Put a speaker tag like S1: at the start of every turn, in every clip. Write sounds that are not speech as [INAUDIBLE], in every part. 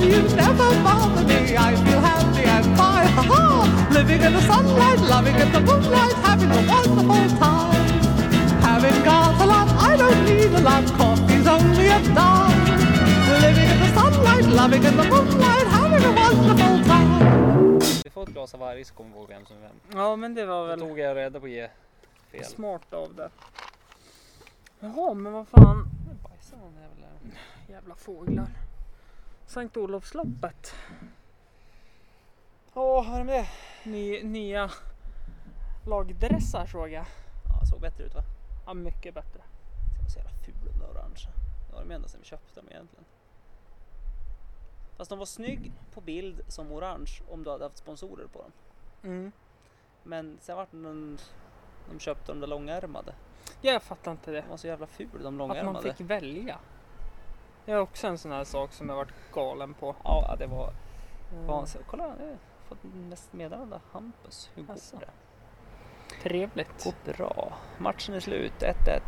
S1: dreams never bother me. I feel happy and fine. Ha ha! Living in the sunlight, loving in the moonlight, having a wonderful time. Having got a lot, I don't need a lot. Coffee's only a dime. Living in the sunlight, loving in the moonlight, having a wonderful time.
S2: Vi får ett glas av varje så kommer vi ihåg vem som är vem.
S3: Ja men det var
S2: Då
S3: väl
S2: tog jag reda på ge fel.
S3: smart av det. Jaha men vad fan.
S2: Bajsar någon jävel där?
S3: Jävla fåglar. Sankt Olofsloppet.
S2: Ja, vad är det med det?
S3: Ny, nya lagdressar såg jag.
S2: Ja, såg bättre ut va?
S3: Ja mycket bättre.
S2: Den var så jävla ful den där orangea. Det var de enda som vi köpte dem egentligen. Fast de var snygg på bild som orange om du hade haft sponsorer på dem.
S3: Mm.
S2: Men sen vart den... De köpte de där långärmade.
S3: Jag fattar inte det.
S2: De var så jävla ful de
S3: Att man
S2: långärmade.
S3: fick välja. Det är också en sån här sak som jag varit galen på.
S2: Ja, det var
S3: Mm.
S2: vansinnigt. Kolla, nu har jag fått mest meddelande. Hampus, hur går
S3: Jaså.
S2: det?
S3: Trevligt.
S2: Går bra. Matchen är slut, 1-1.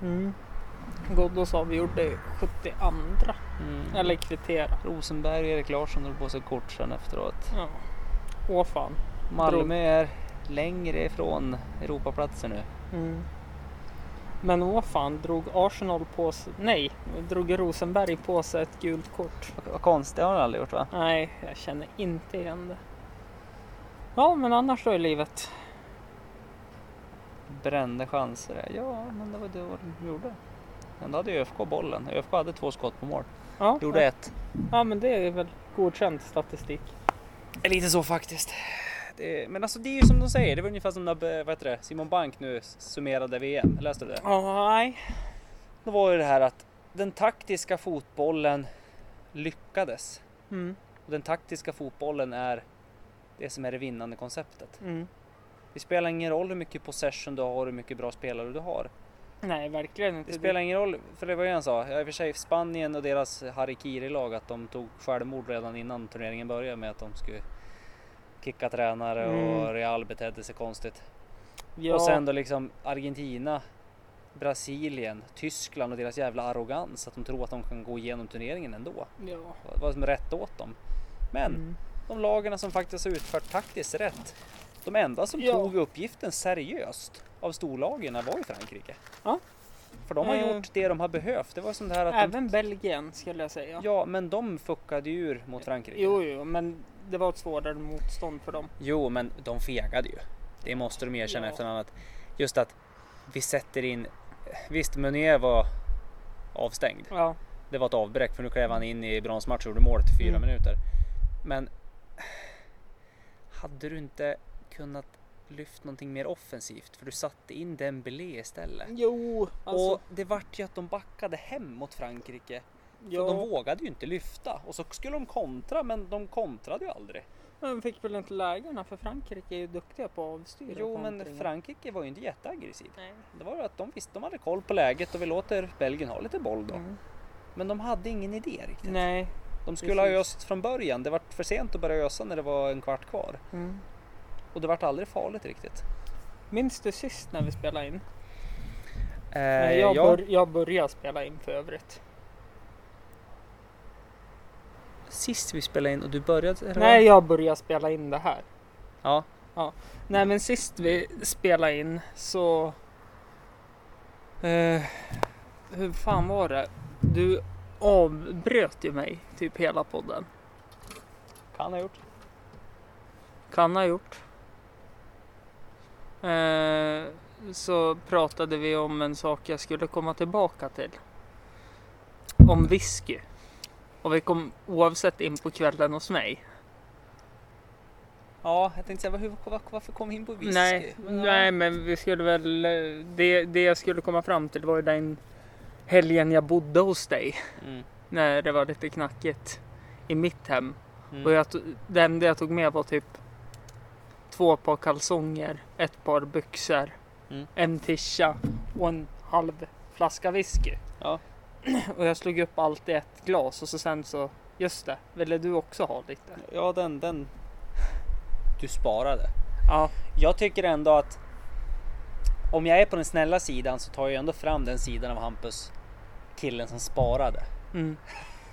S3: Mm. Ghoddos avgjorde i 72
S2: Mm.
S3: eller kvittera.
S2: Rosenberg och Erik Larsson drog på sig kort sen efteråt.
S3: Ja. Åh fan.
S2: Malmö är längre ifrån Europaplatser nu.
S3: Mm. Men åh fan, drog Arsenal på sig, nej, drog Rosenberg på sig ett gult kort?
S2: Vad- Vad konstigt, det har han aldrig gjort va?
S3: Nej, jag känner inte igen det. Ja, men annars då i livet.
S2: Brände chanser. Ja, men det var det var- de gjorde. Men då hade ju ÖFK bollen. ÖFK hade två skott på mål.
S3: Ja,
S2: Gjorde ett.
S3: ja men det är väl godkänd statistik.
S2: Lite så faktiskt. Det, men alltså det är ju som de säger, det var ungefär som när vad heter det, Simon Bank nu summerade VM. Läste du det?
S3: Nej.
S2: Då var ju det här att den taktiska fotbollen lyckades.
S3: Mm,
S2: Och den taktiska fotbollen är det som är det vinnande konceptet.
S3: mm.
S2: Det spelar ingen roll hur mycket possession du har och hur mycket bra spelare du har.
S3: Nej, verkligen inte.
S2: Det spelar ingen roll, för det var ju en sa, ja, i och för sig Spanien och deras harikiri-lag att de tog självmord redan innan turneringen började med att de skulle kicka tränare
S3: Mm.
S2: och Real betedde sig konstigt.
S3: ja,
S2: Och sen då liksom Argentina, Brasilien, Tyskland och deras jävla arrogans att de tror att de kan gå igenom turneringen ändå.
S3: Ja.
S2: Vad- Vad som är rätt åt dem. Men
S3: Mm.
S2: de lagarna som faktiskt har utfört taktiskt rätt. De enda som
S3: Ja.
S2: tog uppgiften seriöst av storlagen var ju Frankrike.
S3: Ja.
S2: För de har
S3: Eh.
S2: gjort det de har behövt. Det var som det här att
S3: Även Belgien skulle jag säga.
S2: de, Ja, men de fuckade ju ur mot Frankrike.
S3: Jo, jo, men det var ett svårare motstånd för dem.
S2: Jo, men de fegade ju. Det måste de erkänna
S3: Ja.
S2: efter annat. Just att vi sätter in... Visst, Meunier var avstängd.
S3: Ja,
S2: Det var ett avbräck för nu klev han in i bronsmatch och gjorde mål till fyra
S3: Mm.
S2: minuter. Men hade du inte kunnat lyft någonting mer offensivt? För du satte in Dembélé istället.
S3: jo, alltså.
S2: och det vart ju att de backade hem mot Frankrike.
S3: ja.
S2: För de vågade ju inte lyfta. Och så skulle de kontra men de kontrade ju aldrig.
S3: Men de fick väl inte lägena för Frankrike är ju duktiga på att avstyra.
S2: Jo men
S3: kontringen.
S2: Frankrike var ju inte jätteaggressiv.
S3: Nej.
S2: Det var ju att de visste de hade koll på läget och vi låter Belgien ha lite boll då.
S3: Mm.
S2: Men de hade ingen idé riktigt.
S3: Nej.
S2: De skulle ha
S3: Precis.
S2: öst från början. Det var för sent att börja ösa när det var en kvart kvar.
S3: Mm.
S2: Och det vart aldrig farligt riktigt.
S3: Minns du sist när vi spelade in?
S2: Eh,
S3: Nej, jag,
S2: ja,
S3: bör, jag började spela in för övrigt.
S2: Sist vi spelade in och du började? eller?
S3: Nej, jag började spela in det här.
S2: Ja.
S3: Nej, men sist vi spelade in så... Eh, hur fan var det? Du avbröt ju mig typ hela podden.
S2: Kan ha gjort.
S3: Kan ha gjort. Eh, så pratade vi om en sak jag skulle komma tillbaka till. Om whisky. Och vi kom oavsett in på kvällen hos mig.
S2: Ja, jag tänkte säga var- hur, var, varför kom vi in på whisky?
S3: Nej,
S2: Men, ja.
S3: nej, men vi skulle väl... eh, Det, det jag skulle komma fram till var ju den helgen jag bodde hos dig.
S2: Mm.
S3: När det var lite knackigt i mitt hem.
S2: Mm.
S3: Och jag, to- det enda jag tog med var typ två par kalsonger, ett par byxor,
S2: Mm.
S3: en tisha och en halv flaska whisky.
S2: Ja.
S3: [CLEARS THROAT] Och jag slog upp allt i ett glas och så sen så, just det, ville du också ha lite?
S2: ja, den, den. Du sparade.
S3: Ja,
S2: Jag tycker ändå att om jag är på den snälla sidan så tar jag ändå fram den sidan av Hampus killen som sparade.
S3: mm.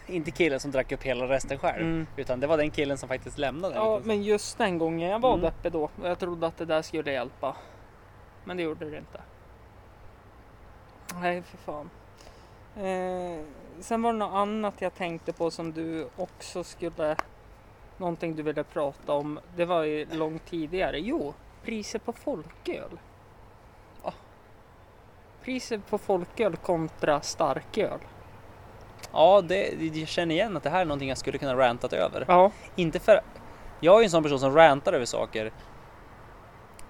S2: Inte killen som drack upp hela resten själv.
S3: Mm.
S2: Utan det var den liksom. killen som faktiskt lämnade.
S3: Ja, men just den gången jag var
S2: Mm.
S3: deppe då. och Jag trodde att det där skulle hjälpa. Men det gjorde det inte. Nej, för fan. Eh, sen var det något annat jag tänkte på som du också skulle... Någonting du ville prata om. Det var ju långt tidigare. Jo, priset på folköl. Ja. Priset på folköl kontra starköl.
S2: Ja, det, jag känner igen att det här är någonting jag skulle kunna rantat över.
S3: Ja.
S2: Inte för... Jag är ju en sån person som rantar över saker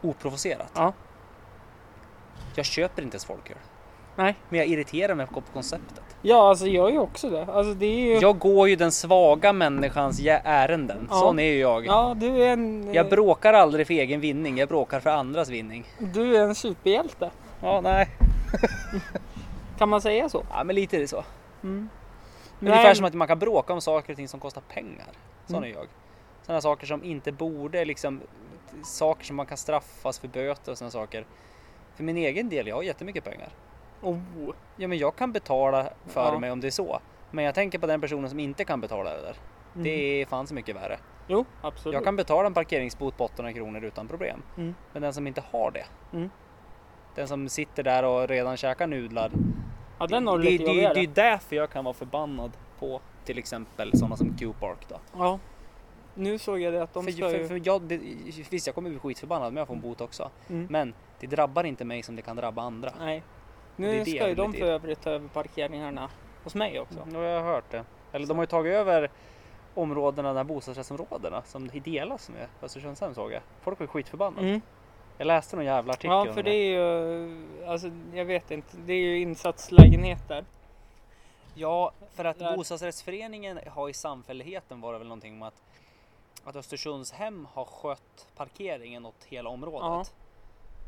S2: oprovocerat.
S3: Ja.
S2: Jag köper inte ens folköl.
S3: Nej.
S2: Men jag irriterar mig på konceptet.
S3: Ja, alltså jag är ju också det. Alltså det är ju...
S2: Jag går ju den svaga människans jä- ärenden.
S3: Ja.
S2: Sån är ju jag.
S3: Ja, du är en...
S2: Jag bråkar aldrig för egen vinning, jag bråkar för andras vinning.
S3: Du är en superhjälte.
S2: Ja, nej.
S3: Kan man säga så?
S2: Ja, men lite är det så.
S3: Nej,
S2: Mm.
S3: Mm.
S2: Ungefär som att man kan bråka om saker och ting som kostar pengar. Sån är jag. Sådana saker som inte borde liksom, saker som man kan straffas för böter och sådana saker. För min egen del, jag har jättemycket pengar.
S3: Oh.
S2: Ja, men jag kan betala för
S3: Ja.
S2: mig om det är så. Men jag tänker på den personen som inte kan betala det där.
S3: Mm.
S2: Det fanns mycket värre.
S3: Jo, absolut.
S2: Jag kan betala en parkeringsbot på 800 kronor utan problem.
S3: Mm.
S2: Men den som inte har det.
S3: Mm.
S2: Den som sitter där och redan käkar nudlar.
S3: ja, den har
S2: det, det,
S3: du lite
S2: det, det är
S3: jobbigare.
S2: därför jag kan vara förbannad på till exempel sådana som Q-Park. Då.
S3: Ja. Nu såg jag det att de
S2: för,
S3: ska
S2: för,
S3: ju...
S2: för jag, det, visst, jag kommer bli skitförbannad men jag får en bot också.
S3: Mm.
S2: Men det drabbar inte mig som det kan drabba andra.
S3: Nej.
S2: det
S3: Nu
S2: är det
S3: ska ju
S2: jag Mm.
S3: de
S2: vill
S3: för
S2: till.
S3: övrigt ta över parkeringarna hos mig också.
S2: Ja, jag har hört det. Eller de har ju tagit över områdena, de här bostadsrättsområdena som delas nu. Östersundshem såg jag. Folk var skitförbannade.
S3: Mm.
S2: Jag läste någon jävla artikel
S3: Ja,
S2: om
S3: för
S2: det.
S3: det är ju... Alltså, jag vet inte. Det är ju insatslägenheter.
S2: Ja, för att
S3: Där.
S2: bostadsrättsföreningen har i samfälligheten var det väl någonting om att, att Östersundshem har skött parkeringen åt hela området.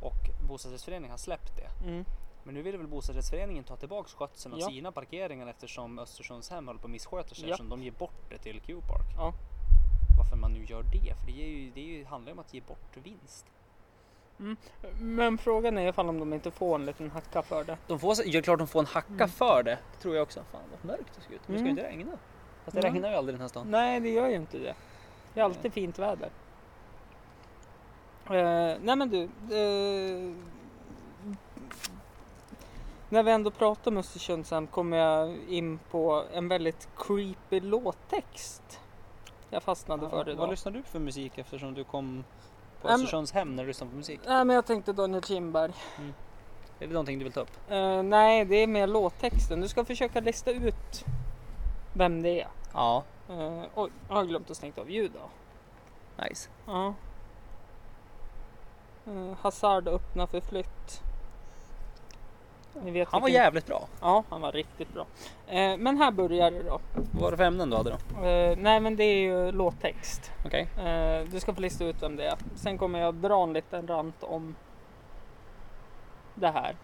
S2: Och bostadsrättsföreningen har släppt det.
S3: Mm.
S2: Men nu vill väl bostadsrättsföreningen ta tillbaka skötseln av
S3: Ja.
S2: sina parkeringar eftersom Östersundshem håller på att missköta sig
S3: Ja.
S2: eftersom de ger bort det till Q-Park.
S3: Ja.
S2: Varför man nu gör det, för det, är ju, det är ju, handlar ju om att ge bort vinst.
S3: Men frågan är ifall om de inte får en liten hacka för det.
S2: De får, det är klart de får en hacka för det. Det tror jag också. Fan vad mörkt det ska ut. Nu ska
S3: Mm.
S2: ju inte regna. Fast det
S3: Nej.
S2: regnar ju aldrig i den här stan.
S3: Nej, det gör ju inte det. Det är alltid fint väder. Eh, nej men du. eh, när vi ändå pratar om Östersundshem kommer jag in på en väldigt creepy låttext. Jag fastnade för det
S2: Vad
S3: idag.
S2: lyssnar du för musik eftersom du kom på
S3: Äm-
S2: Östersunds hem när du lyssnade på musik?
S3: Nej men jag tänkte Daniel Kindberg.
S2: Är det någonting du vill ta upp?
S3: Eh, nej, det är mer låttexten. Du ska försöka lista ut vem det är.
S2: Ja.
S3: Uh, oj, jag har glömt att stänga av ljudet.
S2: Nice.
S3: Ja. Eh, Hazard öppna för flytt. Ni vet
S2: Han var
S3: vilken-
S2: jävligt bra.
S3: Ja, han var riktigt bra. Eh, men här börjar det då.
S2: Vad var det för ämnen du hade då?
S3: Eh, nej, men det är ju låttext.
S2: Okej.
S3: Eh, du ska få lista ut vem det är. Sen kommer jag dra en liten rant om det här.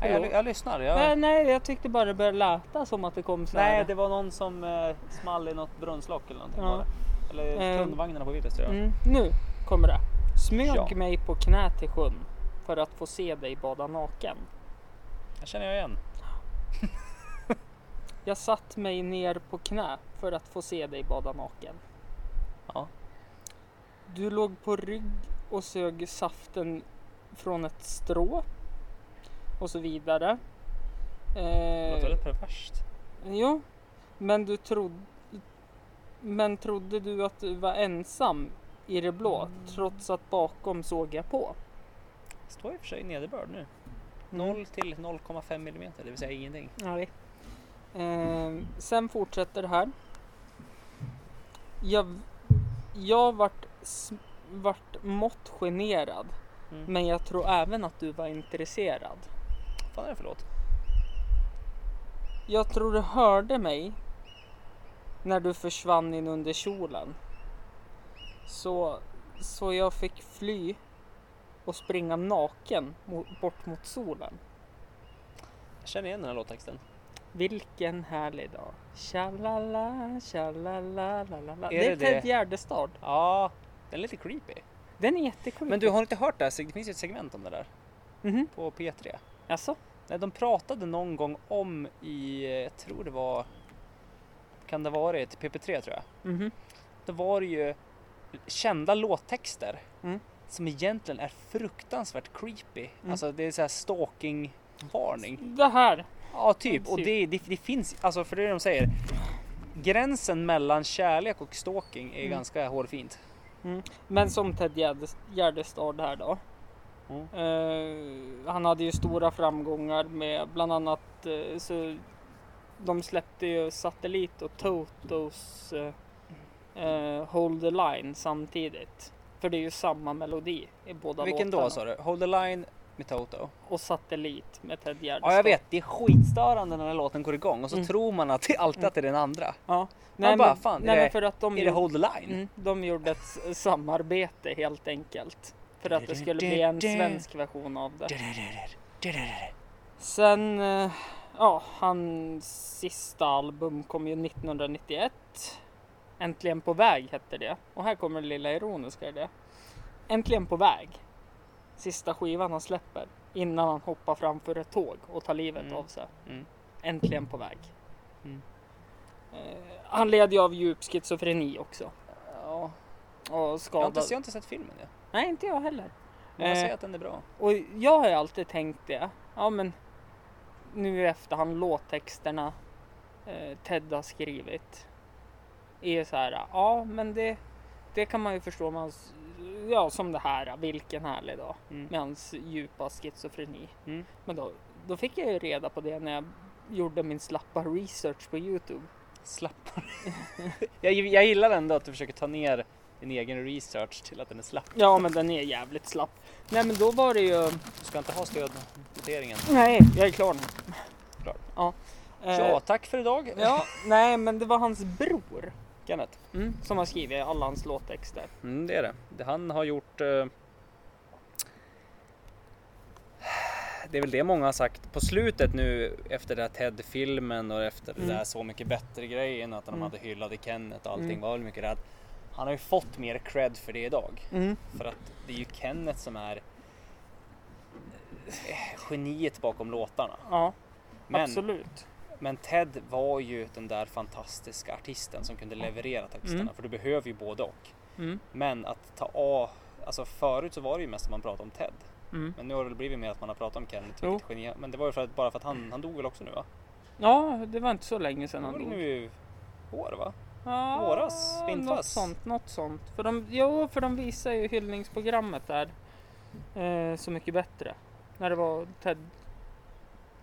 S2: Nej, Jag, jag lyssnar. Jag...
S3: Nej, Eh, nej, jag tyckte bara det började läta som att det kom så här.
S2: Nej, det var någon som eh, small i något brunnslock eller någonting
S3: Ja.
S2: var det. Eller
S3: Ehm.
S2: kundvagnarna på Willys tror jag.
S3: Mm, nu kommer det. Smög
S2: Ja.
S3: mig på knä till sjön för att få se dig bada naken.
S2: Jag känner jag igen.
S3: Jag satt mig ner på knä för att få se dig bada naken.
S2: Ja.
S3: Du låg på rygg och sög saften från ett strå. Och så vidare.
S2: Det låter
S3: Eh,
S2: väldigt perverst.
S3: jo, men du trodde... Men trodde du att du var ensam i det blå
S2: Mm.
S3: trots att bakom såg jag på?
S2: Står i och för sig nederbörd nu. 0 till 0,5 millimeter, det vill säga ingenting.
S3: Nej. Eh, sen fortsätter det här. Jag, jag vart, s- vart mått generad.
S2: Mm.
S3: Men jag tror även att du var intresserad.
S2: Vad fan är det för låt?
S3: Jag tror du hörde mig när du försvann in under kjolen. Så, så jag fick fly och springa naken mo- bort mot solen.
S2: Jag känner igen den här låttexten.
S3: Vilken härlig dag. Tjalala, tjalala, lalala.
S2: Är
S3: Det är
S2: det
S3: Ted
S2: det?
S3: Gärdestad.
S2: Ja, den är lite creepy.
S3: Den är jättekul.
S2: Men du har inte hört det här? seg- Det finns ju ett segment om det där
S3: Mhm.
S2: på P3.
S3: Alltså?
S2: Nej, de pratade någon gång om i, eh, jag tror det var, kan det ha varit PP3 tror jag.
S3: Mhm.
S2: Då var det ju kända låttexter
S3: Mm.
S2: som egentligen är fruktansvärt creepy.
S3: Mm.
S2: Alltså det är så här stalking varning.
S3: Det här.
S2: Ja, typ.
S3: Precis.
S2: Och det, det, det finns, alltså för det är det de säger. Gränsen mellan kärlek och stalking är
S3: Mm.
S2: ganska hårfint.
S3: Men som Ted Gärdes- Gärdestad här då.
S2: Mm.
S3: Eh, han hade ju stora framgångar med bland annat eh, så de släppte ju Satellit och Totos eh, eh, Hold the Line samtidigt. För det är ju samma melodi i båda
S2: Vilken
S3: låtarna.
S2: då sa du? Hold the line med Toto.
S3: Och Satellit med Ted Gärdestad.
S2: Ja, jag vet. Det är skitstörande när den här låten går igång och så
S3: Mm.
S2: tror man att det alltid att det är den andra.
S3: Ja. Nej,
S2: bara,
S3: men,
S2: fan,
S3: nej,
S2: är
S3: men för att de
S2: Är det
S3: gjorde-
S2: Hold the line?
S3: Mm, de gjorde ett s- samarbete helt enkelt. För att det skulle bli en svensk version av det. Sen, eh, ja, hans sista album kom ju 1991. Äntligen på väg hette det. Och här kommer det lilla ironiska i det. Äntligen på väg. Sista skivan han släpper innan han hoppar framför ett tåg och tar livet
S2: Mm.
S3: av sig.
S2: Mm.
S3: Äntligen på väg.
S2: Mm.
S3: Eh, han led ju av djup schizofreni också.
S2: Ja, jag,
S3: Och
S2: har
S3: skadad.
S2: inte, jag har inte sett filmen än.
S3: Nej, inte jag heller.
S2: Men man
S3: Eh.
S2: säger att den är bra.
S3: Och jag har ju alltid tänkt det. Ja men nu i efterhand låttexterna eh, Ted har skrivit. Är ju så här, ja men det, det kan man ju förstå. Man, ja som det här, vilken härlig dag.
S2: Mm.
S3: Med hans djupa schizofreni.
S2: Mm.
S3: Men då, då fick jag ju reda på det när jag gjorde min slappa research på Youtube.
S2: Slappare. [LAUGHS] jag, jag gillar ändå att du försöker ta ner din egen research till att den är slapp.
S3: Ja men den är jävligt slapp. Nej men då var det ju...
S2: Du ska inte ha stödnoteringen.
S3: Nej, jag är klar nu.
S2: Klar.
S3: Ja. Eh,
S2: Ja, tack för idag.
S3: Ja, nej men det var hans bror
S2: Kenneth.
S3: som har skrivit alla hans låttexter.
S2: Mm, det är det. det. Han har gjort... eh, Det är väl det många har sagt på slutet nu efter den här Ted-filmen och efter det
S3: Mm.
S2: där Så mycket bättre-grejen. Att de
S3: Mm.
S2: hade hyllade Kenneth och allting
S3: Mm.
S2: var väl mycket rädd. Han har ju fått mer cred för det idag.
S3: Mm.
S2: För att det är ju Kenneth som är eh, geniet bakom låtarna.
S3: Ja,
S2: Men,
S3: absolut.
S2: men Ted var ju den där fantastiska artisten som kunde leverera texterna.
S3: Mm.
S2: För du behöver ju både och.
S3: Mm.
S2: Men att ta A, alltså förut så var det ju mest att man pratade om Ted.
S3: Mm.
S2: Men nu har det väl blivit mer att man har pratat om Kenneth,
S3: Jo.
S2: vilket geni. Men det var ju för att, bara för att han, han dog väl också nu va?
S3: Ja, det var inte så länge sedan
S2: Han
S3: han
S2: dog
S3: dog.
S2: nu i år va?
S3: Ja,
S2: våras,
S3: Något
S2: vintras.
S3: sånt, något sånt. För de, jo, för de visar ju hyllningsprogrammet där. Eh, så mycket bättre. När det var Ted.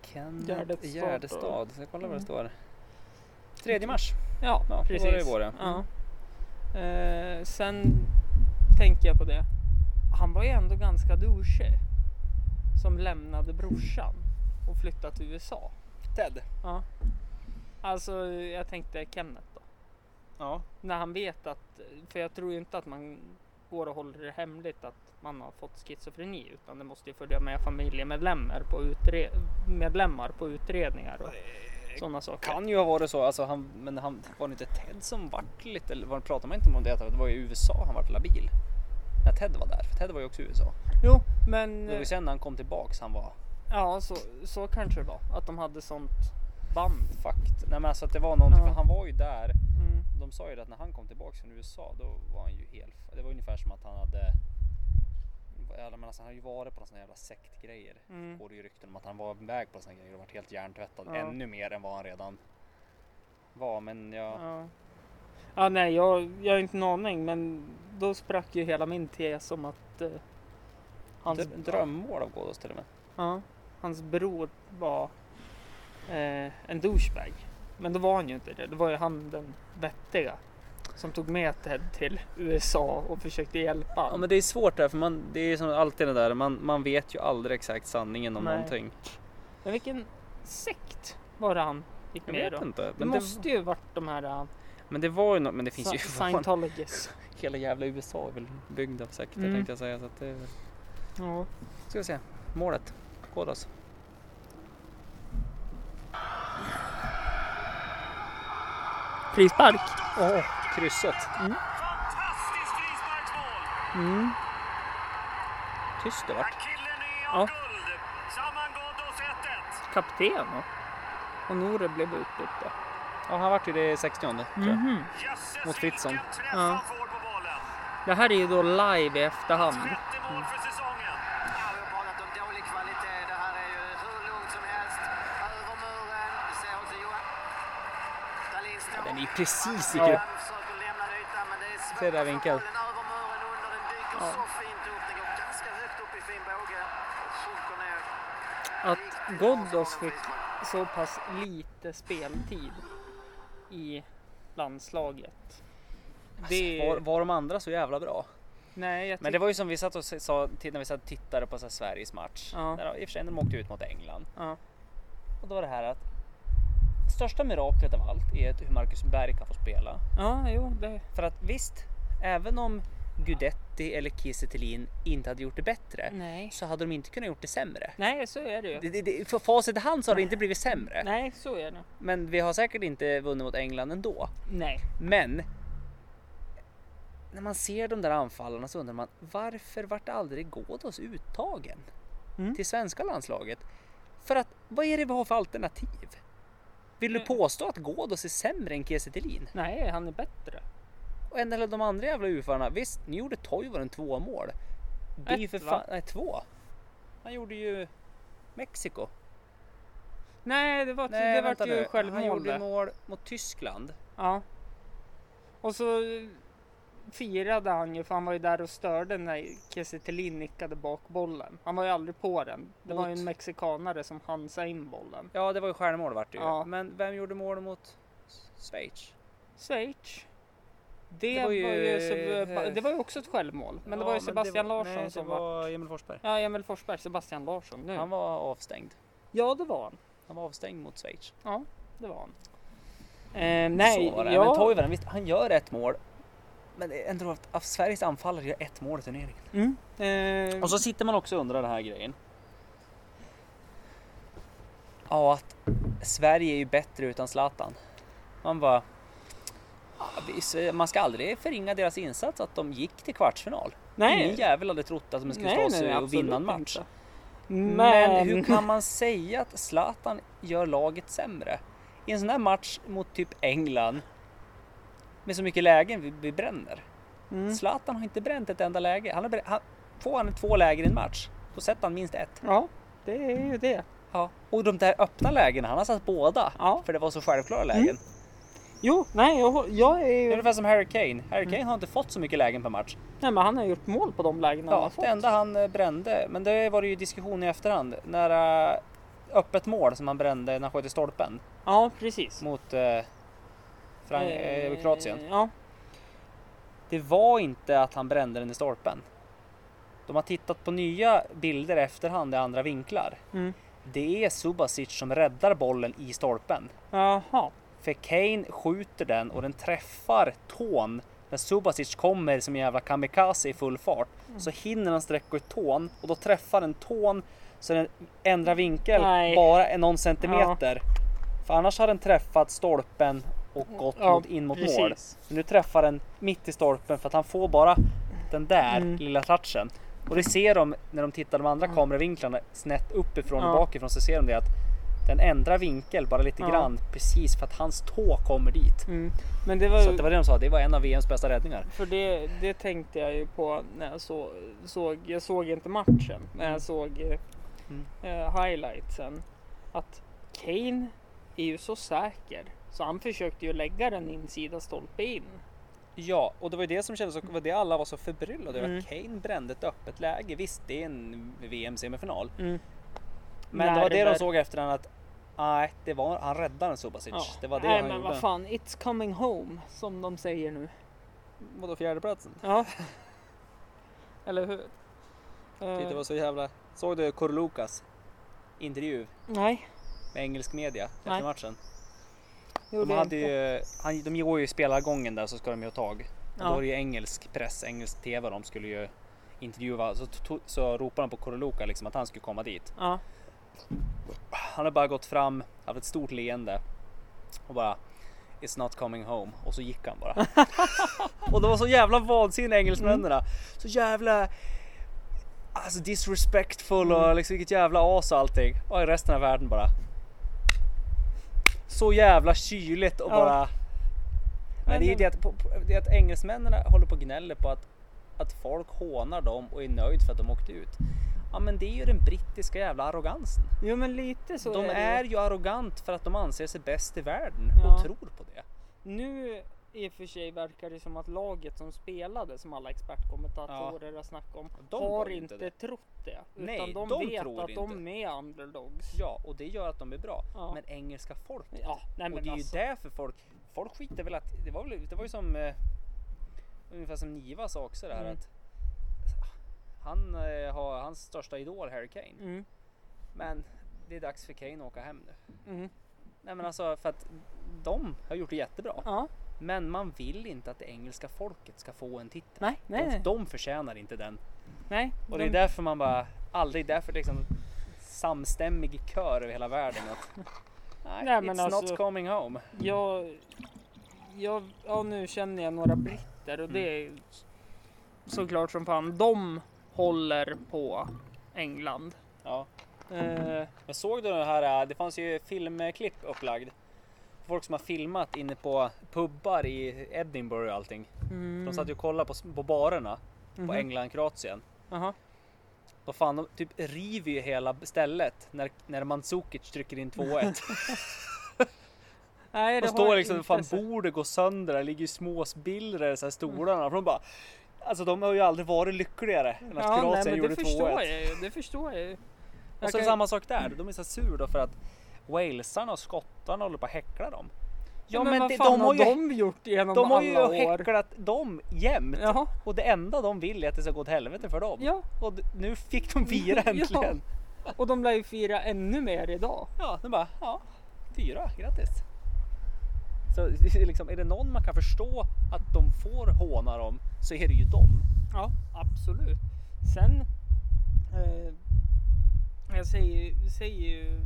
S2: Kenneth
S3: Gärdestad.
S2: Gärdestad. Jag kollar vad
S3: Mm.
S2: det står. 3 mars.
S3: Ja,
S2: Ja, då var det
S3: precis.
S2: i Mm. vår, ja.
S3: ja. Eh, sen tänker jag på det. Han var ju ändå ganska douchig. Som lämnade brorsan och flyttade till USA.
S2: Ted.
S3: Ja. Alltså jag tänkte Kenneth då.
S2: Ja.
S3: När han vet att, för jag tror ju inte att man går och håller det hemligt att man har fått schizofreni utan det måste ju följa med familjemedlemmar på, utre- medlemmar på utredningar och sådana saker.
S2: Eh, Kan ju ha varit så, alltså han, men han, var det inte Ted som vart lite, eller var- pratar man inte om det? att Det var ju i USA han vart labil. När Ted var där, för Ted var ju också i USA.
S3: Jo, men
S2: Det var ju sen när han kom tillbaks han var
S3: ja, så, så kanske det var. Att de hade sånt band.
S2: fakt. Nej men alltså att det var någonting,
S3: Ja.
S2: för han var ju där.
S3: Mm.
S2: De sa ju det att när han kom tillbaks från USA då var han ju helt, det var ungefär som att han hade Ja, men alltså, han har ju varit på någon sån här jävla sektgrejer.
S3: Mm.
S2: Går det ju rykten om att han var iväg på såna grejer och varit helt hjärntvättad.
S3: Ja.
S2: Ännu mer än vad han redan var. Men jag,
S3: Ja. ja, nej, jag, jag har inte en aning, men då sprack ju hela min tes om att eh, hans,
S2: Dr- drömmål av Ghoddos till och med.
S3: ja, hans bror var eh, en douchebag. Men då var han ju inte det. Det var ju han den vettiga som tog med Ted till USA och försökte hjälpa
S2: Ja
S3: honom.
S2: men det är svårt där för man, det är ju som alltid det där, man, man vet ju aldrig exakt sanningen om
S3: Nej.
S2: någonting.
S3: Men vilken sekt var det han gick
S2: Jag
S3: med
S2: vet
S3: då?
S2: inte.
S3: Det
S2: Men det,
S3: måste ju varit de här eh,
S2: men det var ju något, men det finns
S3: sa-
S2: ju [LAUGHS] fan,
S3: Scientologies.
S2: hela jävla USA är väl byggd av sekter
S3: Mm.
S2: tänkte jag säga. Så att det,
S3: Ja.
S2: ska vi se, målet, Ghoddos.
S3: Frispark.
S2: Åh, krysset.
S4: Fantastiskt frisparksmål!
S3: Mm.
S2: Tyst det vart.
S4: Killen är
S3: Ja.
S4: av guld! Saman Ghoddos 1-1.
S3: kapten. och- Och Nore blev utbytt då.
S2: Ja, han vart ju det i 60 tror jag.
S3: Mhm.
S4: Jösses
S2: Mot Fritzson.
S4: vilken träff
S3: Ja.
S4: han får på bollen.
S3: Det här är ju då live i efterhand.
S4: Sjätte mål för säsongen.
S5: Ja, vi har pratat om dålig kvalitet. Det här är ju hur lugnt som helst. Över muren. Du ser också Johan. Dahlin står.
S2: Den är ju precis i
S5: Ja.
S2: grupp.
S5: Han försöker lämna en yta, men det är svårt
S2: Se där
S5: att få
S2: vinkel.
S5: bollen över muren under. Den dyker så fint upp. Den går ganska högt upp i fin båge. Sjunker ner.
S3: Att Ghoddos fick så pass lite speltid i landslaget. Det...
S2: Var, var de andra så jävla bra?
S3: Nej, jag
S2: Alltså, Men det var ju som vi satt och se- sa till- när vi satt och tittade på så här Sveriges match.
S3: Ja.
S2: Där, I och för sig när de åkte ut mot England.
S3: Ja.
S2: Och då var det här att största miraklet av allt är att hur Marcus Berg kan få spela.
S3: ja, jo, det...
S2: För att visst, även om Gudetti eller Kiese Thelin inte hade gjort det bättre
S3: Nej.
S2: så hade de inte kunnat gjort det sämre.
S3: Nej, så är det ju.
S2: Det, det, det, för facit i hand så har det inte blivit sämre.
S3: Nej, så är det.
S2: Men vi har säkert inte vunnit mot England ändå.
S3: Nej.
S2: Men när man ser de där anfallarna så undrar man varför vart aldrig Ghoddos uttagen
S3: Mm.
S2: till svenska landslaget? För att vad är det vi har för alternativ? Vill du
S3: Mm.
S2: påstå att Ghoddos är sämre än Kiese Thelin?
S3: Nej, han är bättre.
S2: Och en del av de andra jävla UFarna, visst, ni gjorde Toivonen två mål. Det är ju
S3: Ett,
S2: för
S3: va?
S2: fan, nej två. Han gjorde ju Mexiko.
S3: Nej, det var,
S2: Nej,
S3: det
S2: vänta
S3: var ju
S2: nu. Han
S3: självmål
S2: gjorde
S3: det.
S2: mål mot Tyskland.
S3: Ja. Och så eh, firade han ju för han var ju där och störde när Kiese Thelin nickade bak bollen. Han var ju aldrig på den. Det var ju
S2: Mot-
S3: en mexikanare som hansade in bollen.
S2: Ja, det var ju stjärnmål vart det ju.
S3: Ja.
S2: Men vem gjorde mål mot Schweiz?
S3: Schweiz. Det,
S2: Det var
S3: var
S2: ju-
S3: ju, Seb- eh, det var ju också ett självmål. Men det var ju Sebastian Larsson som var...
S2: Emil Forsberg.
S3: Ja, Emil Forsberg, Sebastian Larsson nu.
S2: Han var avstängd.
S3: Ja, det var han.
S2: Han var avstängd mot Schweiz.
S3: Ja, det var han. Eh, nej,
S2: Så var det.
S3: ja.
S2: Men Toivonen, visst, han gör ett mål. Men det är ändå att att Sveriges anfallare gör ett mål i turneringen.
S3: Mm. Eh,
S2: Och så sitter man också och undrar den här grejen. Ja, att Sverige är ju bättre utan Zlatan. Man bara... ja, vi- Man ska aldrig förringa deras insats att de gick till kvartsfinal.
S3: Nej.
S2: Ingen jävel hade trott att de skulle ta sig och
S3: absolut
S2: vinna en match.
S3: inte.
S2: Men...
S3: Men [LAUGHS]
S2: hur kan man säga att Zlatan gör laget sämre? I en sån här match mot typ England med så mycket lägen vi, vi bränner.
S3: Mm.
S2: Zlatan har inte bränt ett enda läge. Han har, brä- han, får han två lägen i en match, då sätter han minst ett.
S3: Ja, det är ju det.
S2: Ja. Och de där öppna lägena, han har satt båda.
S3: Ja. Mm.
S2: För det var så självklara lägen.
S3: Jo, nej, jag, hå- jag är
S2: Det är
S3: ju...
S2: ungefär som Harry Kane. Harry
S3: Mm.
S2: Kane har inte fått så mycket lägen per match.
S3: Nej, men han har gjort mål på de lägena han har
S2: Ja,
S3: fått.
S2: det enda han eh, brände, men det var det ju diskussion i efterhand, när eh, öppet mål som han brände när han sköt i stolpen.
S3: Ja, precis.
S2: mot eh, Frank- eh, Kroatien.
S3: Eh, Ja,
S2: Det var inte att han brände den i stolpen. De har tittat på nya bilder i efterhand i andra vinklar.
S3: Mm.
S2: Det är Subasic som räddar bollen i stolpen.
S3: jaha.
S2: För Kane skjuter den och den träffar tån. När Subasic kommer som en jävla kamikaze i full fart
S3: Mm.
S2: så hinner han sträcka ut tån och då träffar den tån så den ändrar vinkel
S3: Nej.
S2: bara en någon centimeter. För annars har den träffat stolpen och gått
S3: Ja,
S2: mot, in mot mål.
S3: precis.
S2: Men nu träffar den mitt i stolpen för att han får bara den där
S3: Mm.
S2: lilla touchen. Och det ser de när de tittar de andra kameravinklarna snett uppifrån och
S3: Ja.
S2: bakifrån så ser de det att den ändrar vinkel bara lite
S3: Ja.
S2: grann precis för att hans tå kommer dit.
S3: Mm. Men det var
S2: Så
S3: ju...
S2: att det var det de sa, det var en av VMs bästa räddningar.
S3: För det, det tänkte jag ju på när jag så, såg, jag såg inte matchen, men
S2: Mm.
S3: jag såg eh, eh, highlightsen. Att Kane är ju så säker så han försökte ju lägga den insida stolpe in.
S2: Ja, och det var ju det som kändes, och var det alla var så förbryllade över. att Kane brände ett öppet läge. Visst, det är en VM-semifinal.
S3: Mm.
S2: Men det var det
S3: Nerver.
S2: de såg efter den att nej, det var, han räddade en Subasic.
S3: Ja.
S2: Det var det
S3: Nej
S2: han
S3: men
S2: gjorde.
S3: vad fan, it's coming home som de säger nu.
S2: Vadå fjärdeplatsen? [LAUGHS]
S3: Ja. Eller hur? Eh,
S2: Det var så jävla... Såg du Kurlukas intervju
S3: Nej,
S2: med engelsk media efter
S3: Nej.
S2: matchen? De,
S3: det gjorde
S2: hade
S3: jag inte.
S2: ju, han, de går ju spelargången där så ska de ju ha tag. Och Då
S3: Ja.
S2: var det ju engelsk press, engelsk TV de skulle ju intervjua. Så, to, så ropade de på Kurluka liksom att han skulle komma dit.
S3: Ja.
S2: Han har bara gått fram, haft ett stort leende och bara It's not coming home och så gick han bara. och det var så jävla vansinniga engelsmännen. Så jävla alltså disrespectful och liksom vilket jävla as och allting. Och i resten av världen bara så jävla kyligt och
S3: Ja.
S2: bara... Men
S3: Men
S2: det är ju
S3: de-
S2: det att, på- på- det är att engelsmännen håller på och gnäller på att, att folk hånar dem och är nöjd för att de åkte ut. Ja men det är ju den brittiska jävla arrogansen.
S3: Jo men lite så
S2: De
S3: det.
S2: är ju arrogant för att de anser sig bäst i världen
S3: Ja.
S2: och tror på det.
S3: Nu i och för sig verkar det som att laget som spelade, som alla expertkommentatorer har snackat om,
S2: De
S3: har
S2: var ju
S3: inte
S2: inte det.
S3: trott det. Utan
S2: Nej,
S3: de,
S2: de
S3: vet
S2: tror
S3: att de
S2: inte.
S3: är underdogs.
S2: Ja, och det gör att de är bra.
S3: Ja.
S2: Men engelska folk.
S3: Ja, nej, men
S2: och det är
S3: alltså.
S2: ju därför folk, folk skiter väl att, det var, väl, det var ju som eh, ungefär som Niva sa också där
S3: Mm.
S2: att han eh, har hans största idol Harry Kane.
S3: Mm,
S2: Men det är dags för Kane att åka hem nu.
S3: mm.
S2: Nej men alltså för att de har gjort det jättebra.
S3: Ja,
S2: Men man vill inte att det engelska folket ska få en titel.
S3: nej, nej,
S2: Alltså, De,
S3: nej.
S2: de förtjänar inte den.
S3: nej.
S2: Och det är
S3: de-
S2: därför man bara, aldrig därför liksom samstämmig kör över hela världen. Att, nej,
S3: Nej,
S2: it's
S3: men alltså-
S2: not coming home.
S3: Jag, jag, ja nu känner jag några britter och det
S2: Mm.
S3: är såklart som fan. De håller på England.
S2: Ja.
S3: Eh,
S2: Men såg du den här, eh, det fanns ju filmklipp upplagd. Folk som har filmat inne på pubbar i Edinburgh och allting. De satt ju och kollade på, på barerna på England, Kroatien.
S3: aha.
S2: Då fan, de typ river ju hela stället när, när Mandzukic trycker in 2-1.
S3: Nej,
S2: De
S3: det har
S2: står
S3: jag
S2: liksom,
S3: inte
S2: fan
S3: sett.
S2: bordet går sönder, det ligger ju små spillror
S3: Mm.
S2: i så här stolarna. För de bara, alltså de har ju aldrig varit lyckligare än att
S3: Ja, nej,
S2: Kroatien
S3: men
S2: gjorde
S3: det förstår
S2: 2-1.
S3: jag ju. Det förstår jag ju.
S2: Och
S3: Jag
S2: så
S3: kan-
S2: Alltså, samma sak där, de är så sur då för att walesarna och skottarna håller på att häckla dem.
S3: Ja, men, vad fan har de gjort genom
S2: De har ju
S3: alla år?
S2: häcklat dem jämt
S3: Jaha.
S2: och det enda de vill är att det ska gå till helvete för dem.
S3: Ja.
S2: Och d- nu fick de fira
S3: [LAUGHS] Ja.
S2: äntligen. Ja,
S3: Och de lär ju fira ännu mer idag.
S2: de bara, ja, fyra, grattis. Så det är liksom, är det någon man kan förstå att de får håna dem så är det ju dem.
S3: Ja, absolut. Sen, eh, jag säger, ju- säger ju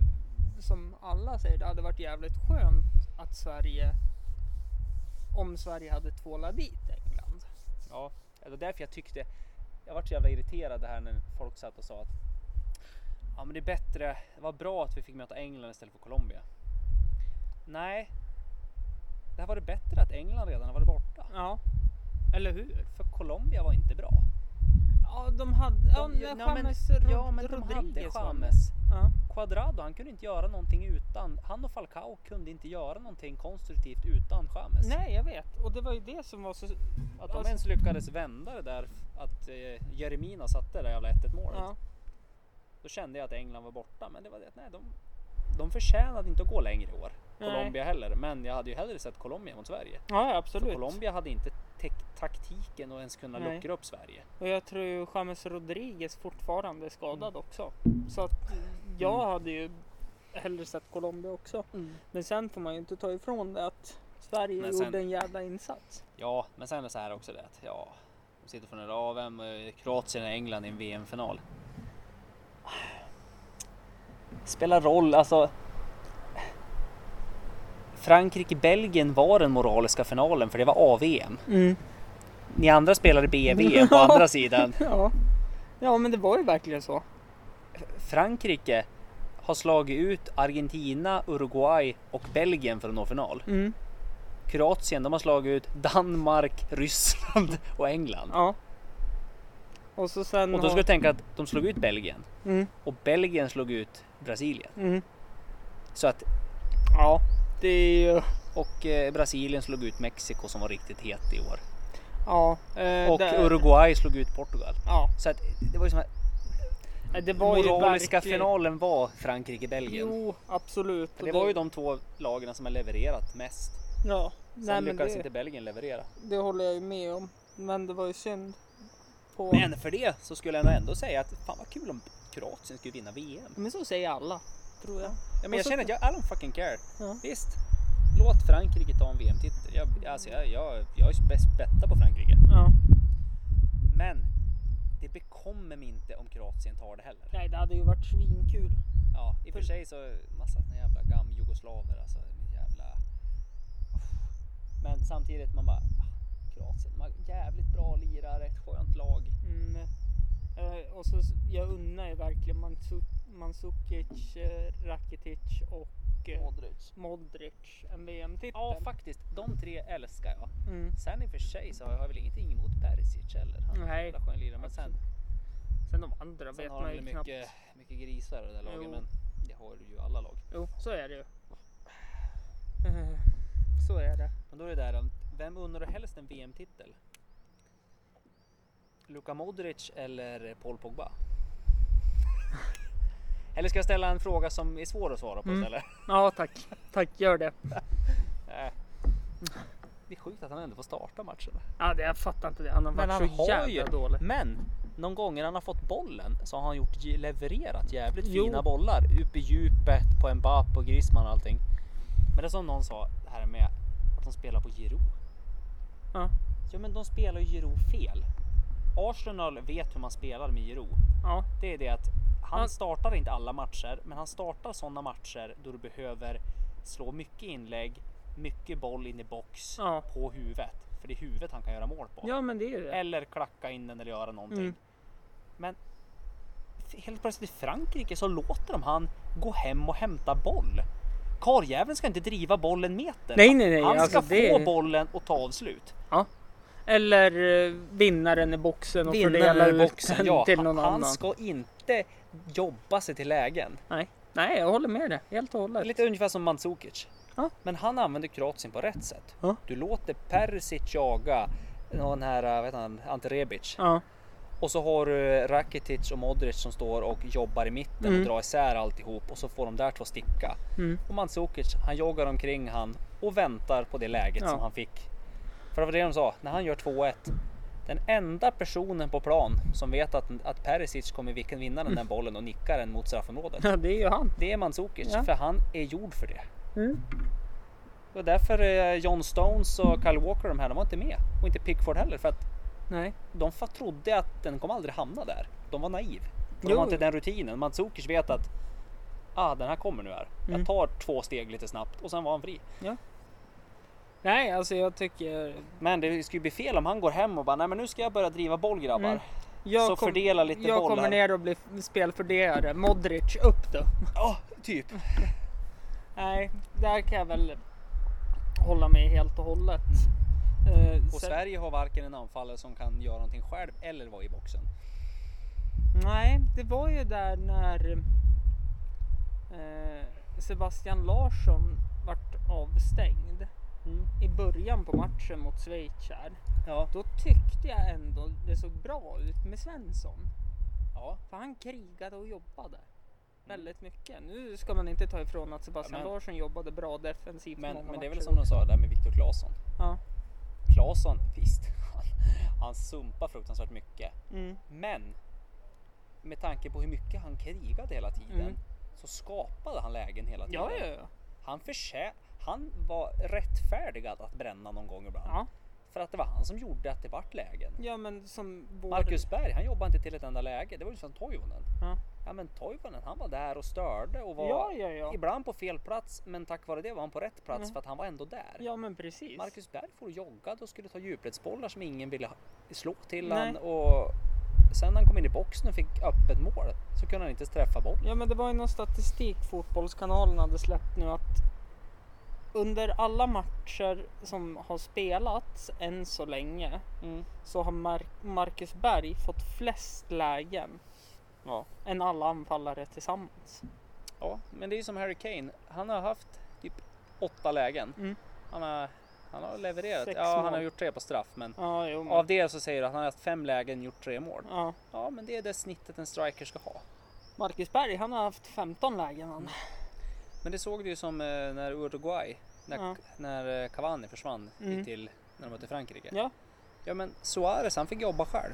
S3: som alla säger, det hade varit jävligt skönt att Sverige, om Sverige hade tvålat dit England.
S2: Ja, det var därför jag tyckte, jag vart så jävla irriterad det här när folk satt och sa att ja men det är bättre, det var bra att vi fick möta England istället för Colombia. Nej, det här var det bättre att England redan har varit borta.
S3: Ja, eller hur?
S2: För Colombia var inte bra.
S3: Ja, de hade, ja,
S2: De-
S3: James
S2: ja, men-
S3: Rod-
S2: ja, men de hade
S3: Rodriguez var med.
S2: James.
S3: Ja.
S2: Quadrado, han kunde inte göra någonting utan, han och Falcao kunde inte göra någonting konstruktivt utan James.
S3: Nej, jag vet. Och det var ju det som var så...
S2: Att de
S3: alltså-
S2: ens lyckades vända det där, att eh, Jeremina satte det där jävla 1-1 målet.
S3: Ja.
S2: Då kände jag att England var borta, men det var det att nej, de, de förtjänade inte att gå längre i år.
S3: Nej.
S2: Colombia heller, men jag hade ju hellre sett Colombia mot Sverige.
S3: ja,
S2: För
S3: absolut.
S2: Colombia hade inte tek- taktiken att ens kunna
S3: Nej.
S2: luckra upp Sverige.
S3: Och jag tror ju James Rodriguez fortfarande är skadad
S2: Mm.
S3: också. Så att jag hade ju hellre sett Colombia också. Men sen får man ju inte ta ifrån det att Sverige
S2: Mm. Men
S3: gjorde
S2: sen-
S3: en jävla insats.
S2: Ja, men sen är det så här också det att ja, de sitter från en av vem eh, Kroatien och England i en VM-final. Spelar roll, alltså. Frankrike-Belgien var den moraliska finalen för det var AVM. Ni andra spelade BVM på andra sidan.
S3: [LAUGHS] Ja. ja, men det var ju verkligen så.
S2: Frankrike har slagit ut Argentina, Uruguay och Belgien för att nå final.
S3: Mm.
S2: Kroatien, de har slagit ut Danmark, Ryssland och England.
S3: Ja. Och så sen...
S2: Och då ska
S3: har-
S2: jag tänka att de slog ut Belgien
S3: Mm.
S2: och Belgien slog ut Brasilien.
S3: Mm.
S2: Så att,
S3: Ja, det är ju...
S2: och eh, Brasilien slog ut Mexiko som var riktigt het i år.
S3: Ja. eh,
S2: Och
S3: det-
S2: Uruguay slog ut Portugal.
S3: Ja,
S2: Så att det var ju som här,
S3: det var ju
S2: moraliska
S3: verkligen-
S2: finalen var Frankrike-Belgien.
S3: Jo, absolut.
S2: För
S3: Och
S2: det var ju de två lagen som har levererat mest.
S3: Ja.
S2: Sen
S3: Nej, men
S2: lyckades
S3: det...
S2: inte Belgien leverera.
S3: Det håller jag ju med om. Men det var ju synd. På...
S2: Men för det så skulle jag nog ändå säga att fan vad kul om Kroatien skulle vinna VM.
S3: Men så säger alla, tror jag.
S2: Ja,
S3: Och
S2: men jag
S3: så-
S2: känner att jag, I don't fucking care.
S3: Ja.
S2: Visst, låt Frankrike ta en VM-titel. Jag, alltså jag, jag, jag är bäst betta på Frankrike.
S3: Ja.
S2: Men det bekommer mig inte om Kroatien tar det heller.
S3: Nej, det hade ju varit svinkul.
S2: Ja, i och för sig så massa såna jävla gam jugoslaver alltså. Jävla... Men samtidigt man bara ah, Kroatien, de har jävligt bra lirare, ett skönt lag.
S3: Mm. Eh, Och så, jag unnar ju verkligen Mandzu- Mandzukic, eh, Rakitic och eh,
S6: Modric.
S3: Modric en VM-titel.
S2: Ja, faktiskt. De tre älskar jag.
S3: Mm.
S2: Sen i och för sig så har jag väl ingenting emot Perisic heller. Han är en
S3: Nej.
S2: jävla skön lirare. Men sen,
S3: Sen de andra
S2: sen
S3: vet
S2: har
S3: man
S2: de
S3: ju
S2: väl
S3: knappt.
S2: mycket, mycket grisar i det där laget.
S3: Jo.
S2: Men det har ju alla lag.
S3: Jo, så är det ju. Eh, Så är det.
S2: Men då är det där om vem undrar helst en VM-titel? Luka Modric eller Paul
S3: [LAUGHS]
S2: Pogba? Eller ska jag ställa en fråga som är svår att svara på
S3: Mm.
S2: istället?
S3: Ja, tack. Tack, gör det.
S2: Nej. Det är sjukt att han ändå får starta matchen.
S3: Ja, det, jag fattar inte det. Han har varit så jävla dålig.
S2: Men någon gång när han har fått bollen så har han gjort, ge- levererat jävligt
S3: Jo.
S2: fina bollar. Upp i djupet på Mbappe och Griezmann och allting. Men det är som någon sa det här med att de spelar på Giroud.
S3: Ja.
S2: Jo men de spelar ju Giroud fel. Arsenal vet hur man spelar med Giroud.
S3: Ja,
S2: Det är det att han
S3: Ja.
S2: startar inte alla matcher, men han startar sådana matcher då du behöver slå mycket inlägg, mycket boll in i box
S3: Ja.
S2: på huvudet. För det är huvudet han kan göra mål på.
S3: ja men det är ju det.
S2: Eller klacka in den eller göra någonting.
S3: Mm.
S2: Men f- helt plötsligt i Frankrike så låter de han gå hem och hämta boll. Karljäveln ska inte driva bollen meter.
S3: Nej, nej, nej,
S2: Han ska
S3: alltså,
S2: få
S3: det-
S2: bollen och ta avslut.
S3: Ja. Eller eh, vinnaren i boxen och fördela
S2: Vinner
S3: ut
S2: boxen,
S3: den
S2: ja.
S3: till någon
S2: han
S3: annan.
S2: ska inte jobba sig till lägen.
S3: Nej. nej, jag håller med dig helt och
S2: Det är
S3: hållet.
S2: Lite ungefär som Mandzukic.
S3: Ja.
S2: Men han använder Kroatien på rätt sätt.
S3: Ja.
S2: Du låter Perisic jaga den här, vad heter han, Ante Rebic.
S3: Ja, [LAUGHS]
S2: Och så har du Rakitic och Modric som står och jobbar i mitten och drar isär alltihop och så får de där två sticka.
S3: Mm.
S2: Och Mandzukic, han joggar omkring han och väntar på det läget
S3: Ja.
S2: som han fick. För det var det de sa, när han gör 2-1. Den enda personen på plan som vet att, att Perisic kommer vilken- vinna
S3: Mm.
S2: den där bollen och nickar den mot straffområdet.
S3: Ja, det är ju han.
S2: Det är Mandzukic,
S3: Ja.
S2: för han är gjord för det.
S3: Mm.
S2: Det var därför eh, John Stones och Kyle Walker de här, de var inte med. Och inte Pickford heller, för att
S3: Nej.
S2: de fa- trodde att den kommer aldrig hamna där. De var naiv. Och De
S3: Jo.
S2: har inte den rutinen. Mandzukic vet att ah, den här kommer nu här. Jag tar två steg lite snabbt och sen var han fri.
S3: Nej, alltså jag tycker...
S2: Men det skulle ju bli fel om han går hem och bara nej men nu ska jag börja driva boll grabbar.
S3: Mm. Jag
S2: Så fördela lite
S3: jag
S2: bollar.
S3: kommer ner och blir spelfördelare. Modric, upp då!
S2: Ja, typ.
S3: Nej, där kan jag väl hålla med helt och hållet. Eh,
S2: Mm. Och
S3: sen-
S2: Sverige har varken en anfallare som kan göra någonting själv eller vara i boxen.
S3: Nej, det var ju där när eh, Sebastian Larsson vart avstängd
S2: Mm.
S3: i början på matchen mot Schweiz här.
S2: Ja.
S3: Då tyckte jag ändå det såg bra ut med Svensson.
S2: Ja.
S3: För han krigade och jobbade. Väldigt mycket. Nu ska man inte ta ifrån att Sebastian
S2: Ja, men-
S3: Larsson jobbade bra defensivt
S2: Men,
S3: många
S2: men det är väl
S3: matcher
S2: som de sa där med Viktor Claesson.
S3: Ja.
S2: Claesson, visst, [LAUGHS] han, han sumpar fruktansvärt mycket.
S3: Mm.
S2: Men med tanke på hur mycket han krigade hela tiden
S3: Mm.
S2: så skapade han lägen hela tiden.
S3: Ja, ja, ja.
S2: Han, försä- han var rättfärdigad att bränna någon gång ibland.
S3: ja. Mm.
S2: För att det var han som gjorde att det vart lägen.
S3: Ja, men som vår...
S2: Marcus Berg, han jobbade inte till ett enda läge. Det var ju som Toivonen.
S3: Ja.
S2: Ja men Toivonen, han var där och störde och var
S3: Ja, ja, ja.
S2: ibland på fel plats. Men tack vare det var han på rätt plats
S3: Mm.
S2: för att han var ändå där.
S3: Ja, men precis.
S2: Marcus Berg får jogga och skulle ta djupledsbollar som ingen ville ha- slå till
S3: Nej.
S2: han och sen när han kom in i boxen och fick öppet mål så kunde han inte ens träffa boll.
S3: Ja men det var ju någon statistik Fotbollskanalen hade släppt nu att under alla matcher som har spelats än så länge så har Mar- Marcus Berg fått flest lägen
S2: Ja.
S3: än alla anfallare tillsammans.
S2: ja, men det är ju som Harry Kane. Han har haft typ åtta lägen.
S3: Mm.
S2: Han, har, han har levererat.
S3: Sex
S2: ja, han
S3: mål.
S2: har gjort tre på straff, men
S3: Ja, jo, men,
S2: av det så säger du att han har haft fem lägen och gjort tre mål.
S3: ja.
S2: Ja, men det är det snittet en striker ska ha.
S3: Marcus Berg han har haft 15 lägen han.
S2: Men det såg du ju som eh, när Uruguay, när,
S3: Ja.
S2: när eh, Cavani försvann
S3: Mm.
S2: till när de mötte Frankrike.
S3: Ja.
S2: Ja men Suarez han fick jobba själv.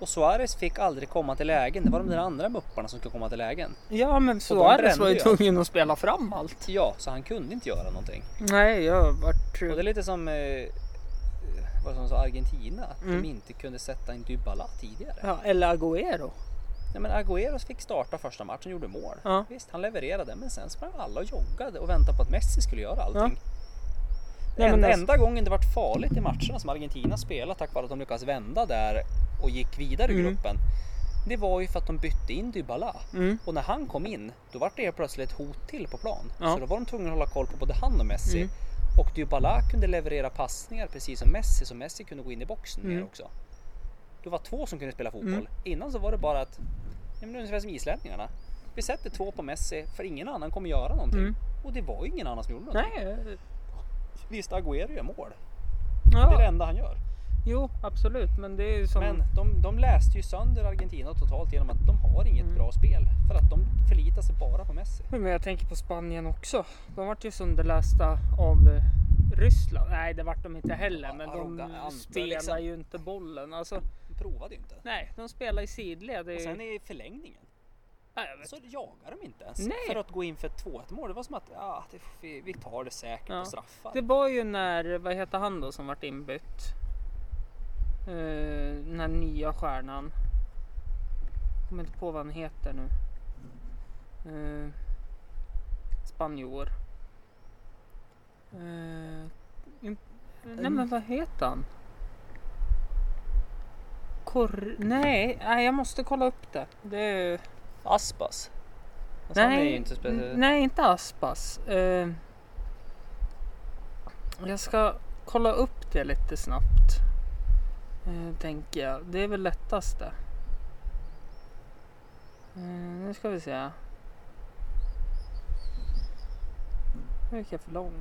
S2: Och Suarez fick aldrig komma till lägen. Det var de där andra mupparna som skulle komma till lägen.
S3: ja men
S2: brände
S3: Suarez var ju
S2: ju.
S3: tvungen att spela fram allt.
S2: Ja, så han kunde inte göra någonting.
S3: Nej jag vart...
S2: Och det är lite som eh, vad som sa Argentina, att
S3: Mm.
S2: de inte kunde sätta en Dybala tidigare.
S3: Ja, eller Agüero.
S2: Nej, men Agüero fick starta första matchen och gjorde mål.
S3: Ja.
S2: Visst, han levererade, men sen sprang alla och joggade och väntade på att Messi skulle göra allting.
S3: Nej, men
S2: en,
S3: alltså-
S2: Enda gången det vart farligt i matcherna som Argentina spelade tack vare att de lyckades vända där och gick vidare i
S3: Mm.
S2: gruppen. Det var ju för att de bytte in Dybala.
S3: Mm.
S2: Och när han kom in, då var det helt plötsligt ett hot till på plan.
S3: Ja.
S2: Så då var de tvungna att hålla koll på både han och Messi.
S3: Mm.
S2: Och Dybala kunde leverera passningar precis som Messi, så Messi kunde gå in i boxen mer
S3: Mm.
S2: också. Det var två som kunde spela fotboll.
S3: Mm.
S2: Innan så var det bara att, ja, men ungefär som islänningarna. Vi sätter två på Messi, för ingen annan kommer göra någonting.
S3: Mm.
S2: Och det var ju ingen annan som gjorde någonting.
S3: Nej, eh,
S2: Visst, Agüero gör mål. Det är det
S3: ja. Mm.
S2: enda han gör.
S3: Jo, absolut. Men det är ju som...
S2: Men de, de läste ju sönder Argentina totalt genom att de har inget
S3: Mm.
S2: bra spel. För att de förlitar sig bara på Messi.
S3: Men jag tänker på Spanien också. De vart ju underlästa av eh, Ryssland. Nej, det vart de inte heller. Men de
S2: Arroganta,
S3: spelar
S2: liksom.
S3: ju inte bollen. Alltså,
S2: De provade ju inte.
S3: nej, de spelar i sidled. Det är-
S2: Och sen i förlängningen
S3: Ja, jag vet.
S2: så jagar de inte ens.
S3: Nej.
S2: För att gå in för ett 2-1 mål. Det var som att ah, det, vi, vi tar det säkert
S3: Ja.
S2: på straffar.
S3: Det var ju när, vad heter han då som vart inbytt? Eh, den här nya stjärnan. Kommer inte på vad han heter nu. Uh, Spanjor. Eh, in- nej men vad heter han? Kor- nej, nej, jag måste kolla upp det. det är...
S2: Aspas. Alltså, han är ju
S3: Nej,
S2: inte
S3: n-
S2: speciellt...
S3: nej, inte Aspas. Eh, jag ska kolla upp det lite snabbt. Eh, tänker jag. Det är väl lättast det. Eh, nu ska vi se. Nu gick jag för långt.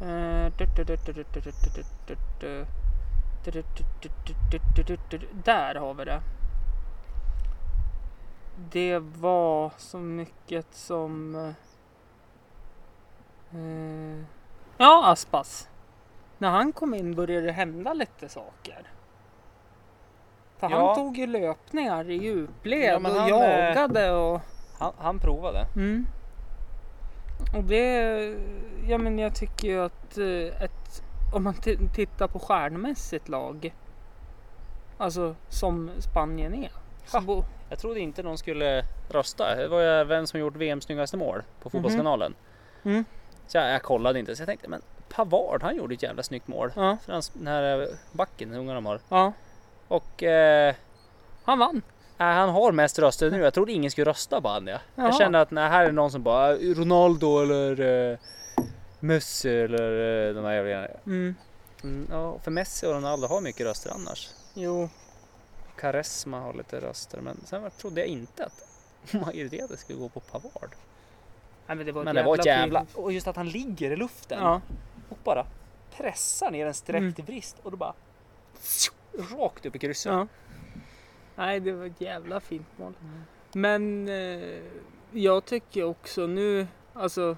S3: Eh, du- du- du- du- du- du- du- du- du- du. Du- du- du- du- du- du- du- du- du. Där har vi det. Det var så mycket som... eh, ja, Aspas. När han kom in började det hända lite saker. För
S2: Ja.
S3: han tog ju löpningar i djupled
S2: Ja, men
S3: och
S2: han, eh,
S3: jagade och...
S2: Han, han provade.
S3: Mm. Och det, ja men jag tycker ju att eh, ett, om man t- tittar på stjärnmässigt lag, alltså som Spanien är. Så
S2: Ha.
S3: bo,
S2: Jag trodde inte någon skulle rösta. Det var ju vem som gjort VM snyggaste mål på Fotbollskanalen.
S3: Mhm. Mm.
S2: Så jag, jag kollade inte. Så jag tänkte, men Pavard han gjorde ett jävla snyggt mål.
S3: ja,
S2: För hans, den här eh, backen, den unga de har.
S3: ja,
S2: Och eh,
S3: han vann.
S2: Nej, han har mest röster nu. Jag trodde ingen skulle rösta på han. Ja.
S3: Jaha.
S2: Jag kände att nej, här är någon som bara eh, Ronaldo eller eh, Messi eller eh, de här jävla grejerna.
S3: Mm.
S2: mm, ja, För Messi och Ronaldo har mycket röster annars.
S3: Jo,
S2: Karesma har lite röster men sen var- trodde jag inte att [LAUGHS] majoriteten skulle gå på Pavard.
S3: Nej, men det var
S2: Men det var ett jävla...
S3: fint.
S2: Och just att han ligger i luften
S3: Ja,
S2: och bara pressar ner en
S3: Mm.
S2: sträckt vrist och då bara rakt upp i krysset.
S3: ja. Nej, det var ett jävla fint mål.
S2: Mm.
S3: Men eh, jag tycker också nu, alltså.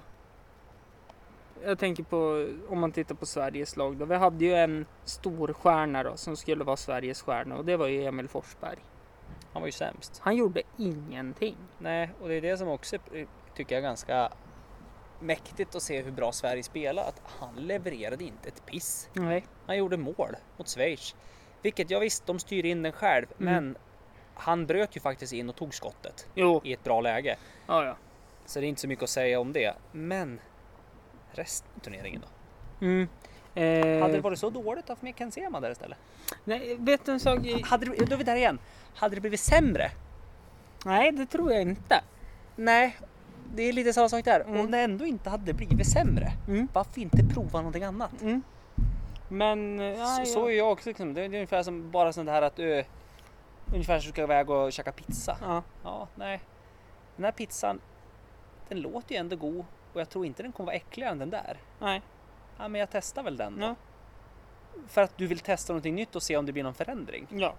S3: Jag tänker på om man tittar på Sveriges lag då. Vi hade ju en stor stjärna då som skulle vara Sveriges stjärna och det var ju Emil Forsberg.
S2: Han var ju sämst.
S3: Han gjorde ingenting.
S2: Nej, och det är det som också eh, tycker jag är ganska mäktigt att se hur bra Sverige spelar. Att han levererade inte ett piss.
S3: Nej.
S2: Han gjorde mål mot Schweiz. Vilket jag visst, de styr in den själv, men han bröt ju faktiskt in och tog skottet
S3: Jo,
S2: i ett bra läge.
S3: ja ja.
S2: Så det är inte så mycket att säga om det. Men resten av turneringen då?
S3: Mm.
S2: Hade det
S3: Eh,
S2: varit så dåligt att med Ken Sema där istället?
S3: nej, vet du en sak?
S2: Hade det, då är vi där igen. Hade det blivit sämre?
S3: Nej, det tror jag inte.
S2: Nej, det är lite samma sak där. Och när ändå inte hade blivit sämre,
S3: Mm.
S2: varför inte prova någonting annat?
S3: Men... eh,
S2: Så,
S3: ja,
S2: så är
S3: ja.
S2: jag också liksom. Det är det är ungefär som bara sånt här att du ungefär så ska jag iväg och käka pizza.
S3: Ja.
S2: Ja, nej. Den här pizzan, den låter ju ändå god och jag tror inte den kommer vara äckligare än den där.
S3: Nej.
S2: Ja, men jag testar väl den då.
S3: Ja.
S2: För att du vill testa någonting nytt och se om det blir någon förändring.
S3: Ja.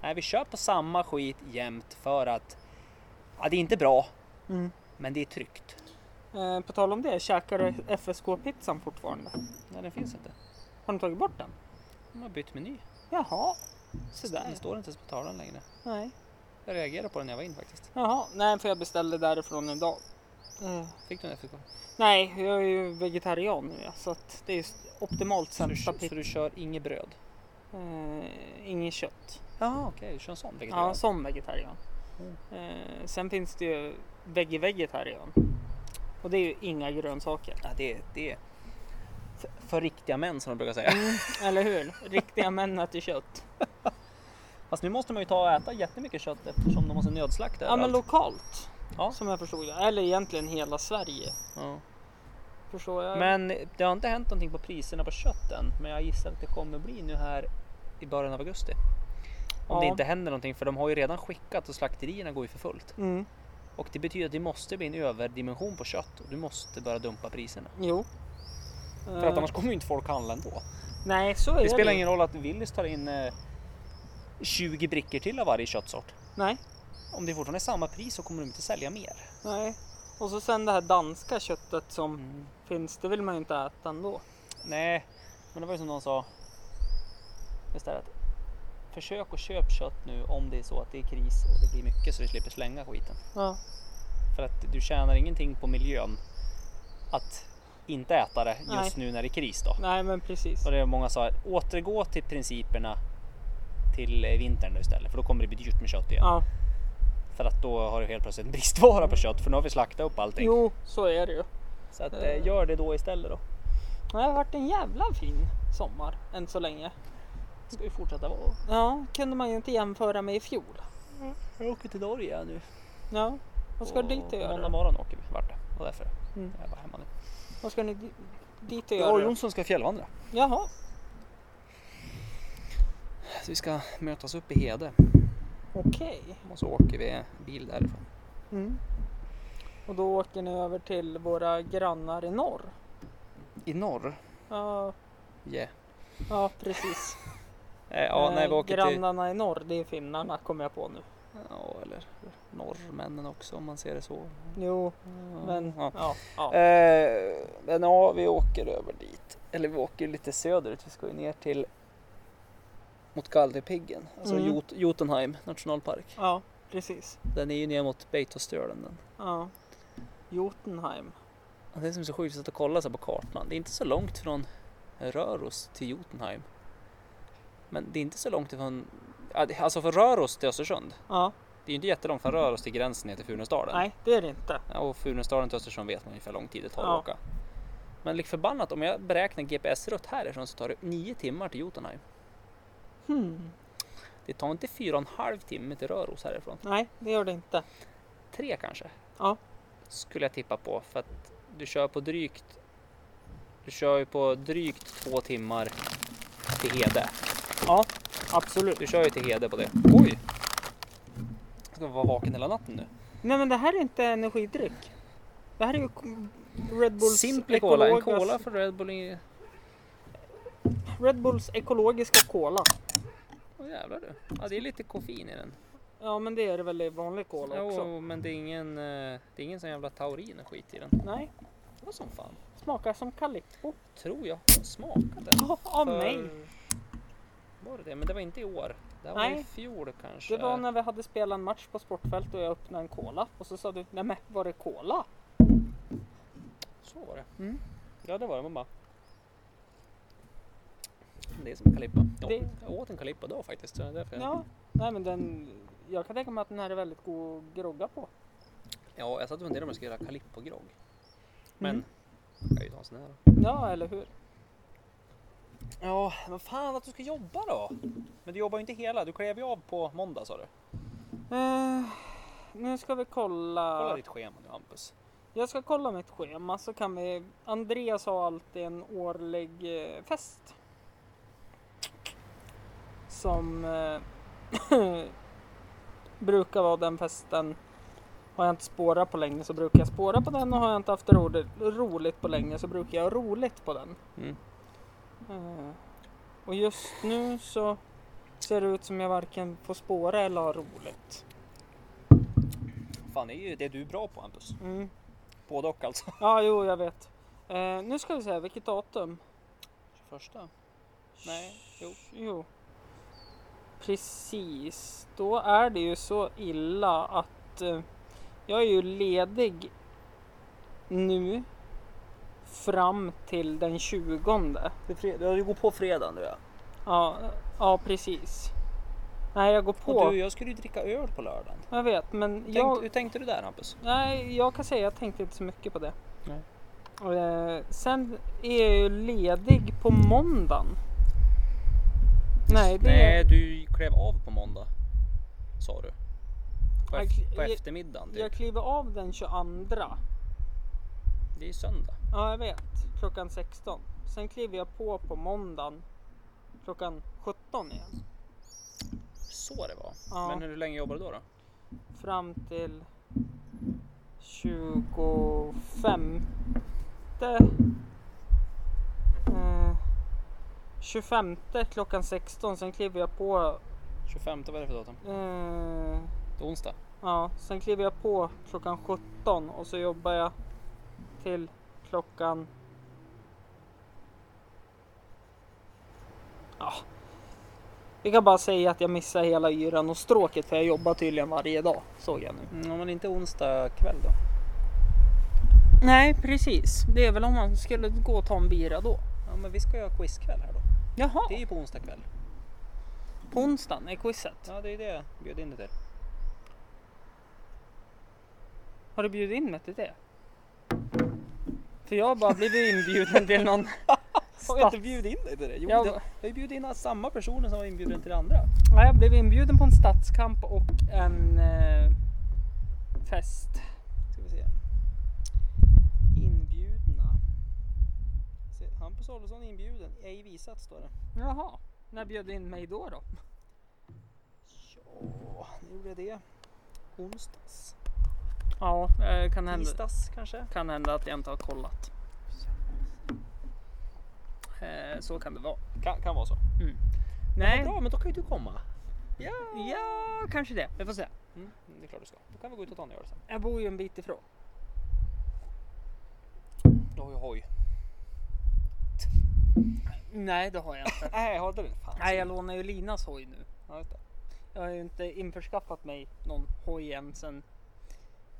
S2: Nej, vi kör på samma skit jämt för att ja, det är inte bra,
S3: Mm.
S2: men det är tryggt.
S3: Eh, på tal om det, käkar
S2: Mm.
S3: du FSK-pizzan fortfarande?
S2: Nej, den finns inte.
S3: Har du tagit bort den?
S2: De har bytt meny.
S3: Jaha.
S2: Så
S3: där.
S2: Den står inte ens på tavlan längre.
S3: Nej.
S2: Jag reagerade på den när jag var in faktiskt.
S3: Jaha, nej för jag beställde därifrån en dag.
S2: Fick du en FK?
S3: Nej, jag är ju vegetarian nu ja, så att det är s- optimalt
S2: Så du,
S3: sämsta
S2: så
S3: pizza.
S2: du kör inget bröd?
S3: Eh, inget kött.
S2: Jaha okej, du kör en sån vegetarian?
S3: Ja, som vegetarian.
S2: Mm.
S3: Eh, sen finns det ju veggie-vegetarian. Och det är ju inga grönsaker.
S2: Ja, det, det är
S3: Mm.
S2: för, för riktiga män som de brukar säga. [LAUGHS]
S3: Eller hur? Riktiga män äter kött.
S2: Fast nu måste man ju ta och äta jättemycket kött eftersom de måste nödslakta
S3: Ja men
S2: överallt.
S3: lokalt.
S2: Ja.
S3: Som jag förstod det. Eller egentligen hela Sverige.
S2: Ja.
S3: Förstår jag.
S2: Men det har inte hänt någonting på priserna på kött än. Men jag gissar att det kommer bli nu här i början av augusti. Om det
S3: Ja.
S2: inte händer någonting för de har ju redan skickat och slakterierna går ju för fullt.
S3: Mm.
S2: Och det betyder att det måste bli en överdimension på kött och du måste börja dumpa priserna.
S3: Jo.
S2: För att
S3: Eh,
S2: annars kommer ju inte folk handla ändå.
S3: Nej så är
S2: Det
S3: det
S2: spelar
S3: ju.
S2: ingen roll att Willys tar in eh, 20 brickor till av varje köttsort.
S3: Nej.
S2: Om det fortfarande är samma pris så kommer de inte sälja mer.
S3: Nej. Och så sen det här danska köttet som
S2: Mm.
S3: finns. Det vill man ju inte äta ändå.
S2: Nej, men det var ju som någon sa. Just det här att försök att köpa kött nu om det är så att det är kris och det blir mycket så vi slipper slänga skiten.
S3: Ja.
S2: För att du tjänar ingenting på miljön att inte äta det just nu när det är kris då.
S3: Nej men precis.
S2: Och det är många sa, återgå till principerna till eh, vintern nu istället för då kommer det bli dyrt med kött igen.
S3: Ja. Mm.
S2: För att då har du helt plötsligt en bristvara på kött för nu har vi slaktat upp allting.
S3: Jo så är det ju.
S2: Så att, eh, gör det då istället då.
S3: Det har varit en jävla fin sommar än så länge.
S2: Det ska ju fortsätta vara.
S3: Ja, kunde man ju inte jämföra med i fjol.
S2: Jag åker till Norge nu.
S3: Ja. Vad ska
S2: Och
S3: du dit och
S2: Måndag
S3: göra? då?
S2: morgon åker vi, vart det. Och därför
S3: Mm.
S2: är jag bara hemma nu.
S3: Vad ska ni di- dit och
S2: Jag och
S3: göra? då?
S2: Jonsson ska fjällvandra.
S3: Jaha.
S2: Så vi ska mötas upp i Hede
S3: Okej.
S2: och så åker vi bil därifrån.
S3: Mm. Och då åker ni över till våra grannar i norr?
S2: I norr?
S3: Ja,
S2: Yeah.
S3: ja precis.
S2: Eh, ja,
S3: Eh,
S2: nej, vi åker till...
S3: Grannarna i norr, det är finnarna kommer jag på nu.
S2: Ja, eller norrmännen också om man ser det så.
S3: Jo, men
S2: Ja.
S3: ja. ja,
S2: Eh, men ja, vi åker över dit. Eller vi åker lite söderut. Vi ska ju ner till mot Galdhöpiggen, alltså
S3: Mm.
S2: Jot Jotunheim nationalpark.
S3: Ja, precis.
S2: Den är ju ner mot Beitostölen. den.
S3: Ja. Jotunheim.
S2: Och Alltså, Det som är så sjukt är att kolla så här på kartan. Det är inte så långt från Röros till Jotunheim. Men det är inte så långt ifrån... ja, det- Alltså från Röros till Östersund.
S3: Ja,
S2: Det är ju inte jättelångt från Röros till gränsen ner till Funäsdalen.
S3: nej det är det inte.
S2: Ja, och Funäsdalen till Östersund vet man ungefär hur lång tid det tar
S3: Ja.
S2: att åka. Men lik förbannat om jag beräknar GPS-rutt härifrån så tar det nio timmar till Jotunheim.
S3: Hmm.
S2: Det tar inte fyra och en halv timme till Röros härifrån.
S3: Nej, det gör det inte.
S2: Tre kanske?
S3: Ja.
S2: Skulle jag tippa på för att du kör på drygt... Du kör ju på drygt två timmar till Hede.
S3: Ja, absolut.
S2: Du kör ju till Hede på det. Oj! Jag ska vara vaken hela natten nu.
S3: Nej men det här är inte energidryck. Det här är ju Red Bulls,
S2: Simply Cola, en
S3: ekologas-
S2: Cola för Red Bull. i-
S3: Red Bulls ekologiska cola.
S2: Åh jävlar du. Ja, det är lite koffein i den.
S3: Ja men det är det väl i vanlig cola också?
S2: Jo, men det är ingen, eh, det är ingen sån jävla taurin och skit i den.
S3: Nej,
S2: Vad som fan.
S3: smakar som Calippo.
S2: Tror jag har smakat den.
S3: Ja, Av
S2: För-
S3: mig!
S2: Var det det? Men det var inte i år. Det här var
S3: Nej.
S2: i fjol kanske.
S3: Det var när vi hade spelat en match på Sportfält och jag öppnade en cola och så sa du nej men var det cola?
S2: Så var det.
S3: Mm.
S2: Ja, det var det. Man bara... Det är som Calippa. Jag,
S3: Det-
S2: jag åt en Calippa då faktiskt. Så det är därför jag...
S3: Ja, nej men den... Jag kan tänka mig att den här är väldigt god att grogga på.
S2: ja, jag satt och funderade om jag skulle göra Calippo-grogg. Men
S3: Mm.
S2: jag kan ju ta en sån här.
S3: Ja, eller hur?
S2: Ja, men fan att du ska jobba då. Men du jobbar ju inte hela. Du klev ju av på måndag sa du.
S3: Eh, nu ska vi kolla.
S2: Kolla ditt schema nu Hampus.
S3: Jag ska kolla mitt schema så kan vi... Andreas har alltid en årlig eh, fest. Som eh, [LAUGHS] brukar vara den festen. Har jag inte spårat på länge så brukar jag spåra på den och har jag inte haft roligt, roligt på länge så brukar jag ha roligt på den.
S2: Mm.
S3: Eh, och just nu så ser det ut som jag varken får spåra eller ha roligt.
S2: Fan, det är ju det du är bra på Hampus.
S3: Mm.
S2: Både och alltså.
S3: Ja, jo, jag vet. Eh, nu ska vi se, vilket datum?
S2: Första? Nej, jo.
S3: Jo. Precis. Då är det ju så illa att eh, jag är ju ledig nu fram till den 20.
S2: Det är fred- du går på fredag nu ja.
S3: Ja, ja precis. Nej, jag går på.
S2: Och du, jag skulle ju dricka öl på lördagen.
S3: Jag vet, men
S2: Tänk,
S3: jag...
S2: Hur tänkte du där Hampus?
S3: Nej, jag kan säga jag tänkte inte så mycket på det.
S2: Nej.
S3: Eh, sen är jag ju ledig på måndagen. Nej, det
S2: Nej, du klev av på måndag. Sa du. På,
S3: Jag-
S2: ef- på
S3: jag-
S2: eftermiddagen typ.
S3: Jag kliver av den 22.
S2: Det är ju söndag.
S3: Ja, jag vet. Klockan 16. Sen kliver jag på på måndagen klockan 17 igen.
S2: Så det var.
S3: Ja.
S2: Men hur länge jobbar du då? då?
S3: Fram till 25. Eh, 25 klockan 16. Sen kliver jag på.
S2: 25, vad är det för datum?
S3: Eh,
S2: Det är onsdag.
S3: ja, sen kliver jag på klockan 17 och så jobbar jag till klockan. Ja. Vi kan bara säga att jag missar hela yran och stråket för jag jobbar tydligen varje dag såg jag nu.
S2: Mm, ja, men inte onsdag kväll då?
S3: Nej precis, det är väl om man skulle gå och ta en bira då.
S2: Ja, men vi ska ju ha quizkväll här då.
S3: Jaha,
S2: Det är ju på onsdag kväll.
S3: på onsdagen är quizet.
S2: Ja, det är ju det jag bjöd in dig till.
S3: Har du bjudit in mig till det? För jag har bara blivit inbjuden till [LAUGHS] någon
S2: Har jag inte
S3: stats...
S2: bjudit in dig till det? Jo,
S3: Ja.
S2: det, jag har ju bjudit in samma personer som var inbjuden till det andra.
S3: Ja, jag blev inbjuden på en stadskamp och en eh, fest.
S2: Ska vi se. Inbjudna. Se, Hampus Ollosson inbjuden, ej visat står det.
S3: Jaha, när bjöd du in mig då då?
S2: Ja, nu gjorde jag det. Onsdags.
S3: Ja, eh, kan hända,
S2: Tisdags kanske?
S3: kan hända att jag inte har kollat. Eh, så kan det vara.
S2: Kan, kan vara så.
S3: Nej,
S2: Bra, men då kan ju du komma. Ja,
S3: ja kanske det. Vi får se.
S2: Mm, det är klart du ska. Då kan vi gå ut och ta en öl sen.
S3: Jag bor ju en bit ifrån.
S2: Oj, hoj.
S3: Nej, det har jag inte.
S2: Nej, har du den? Fan.
S3: Nej, jag lånar ju Linas hoj nu.
S2: Ja, just det.
S3: Jag har ju inte införskaffat mig någon hoj än sen...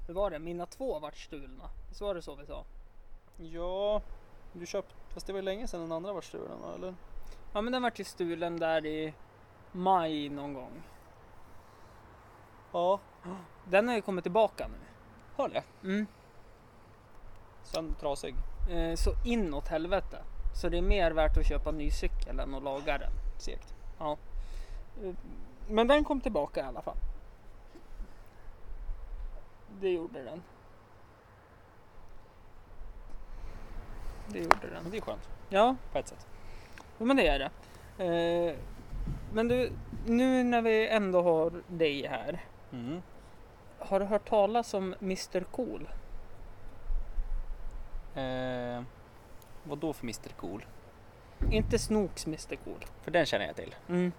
S3: Hur var det? Mina två vart stulna. Visst var det så vi sa?
S2: ja, du köpte... Fast det var ju länge sedan den andra var stulen, va, eller?
S3: Ja, men den vart ju stulen där i maj någon gång.
S2: Ja.
S3: Den har ju kommit tillbaka nu.
S2: Har det?
S3: Mm.
S2: Sen trasig.
S3: Eh, så inåt helvete. Så det är mer värt att köpa en ny cykel än att laga den. Eh,
S2: Segt.
S3: Men den kom tillbaka i alla fall. Det gjorde den. Det gjorde den.
S2: Men det är skönt
S3: Ja,
S2: på ett sätt.
S3: Jo men det är det. Eh, men du, nu när vi ändå har dig här.
S2: Mm.
S3: Har du hört talas om Mr Cool?
S2: Eh, vad då för Mr Cool?
S3: Inte Snooks Mr Cool.
S2: För den känner jag till.
S3: Mm.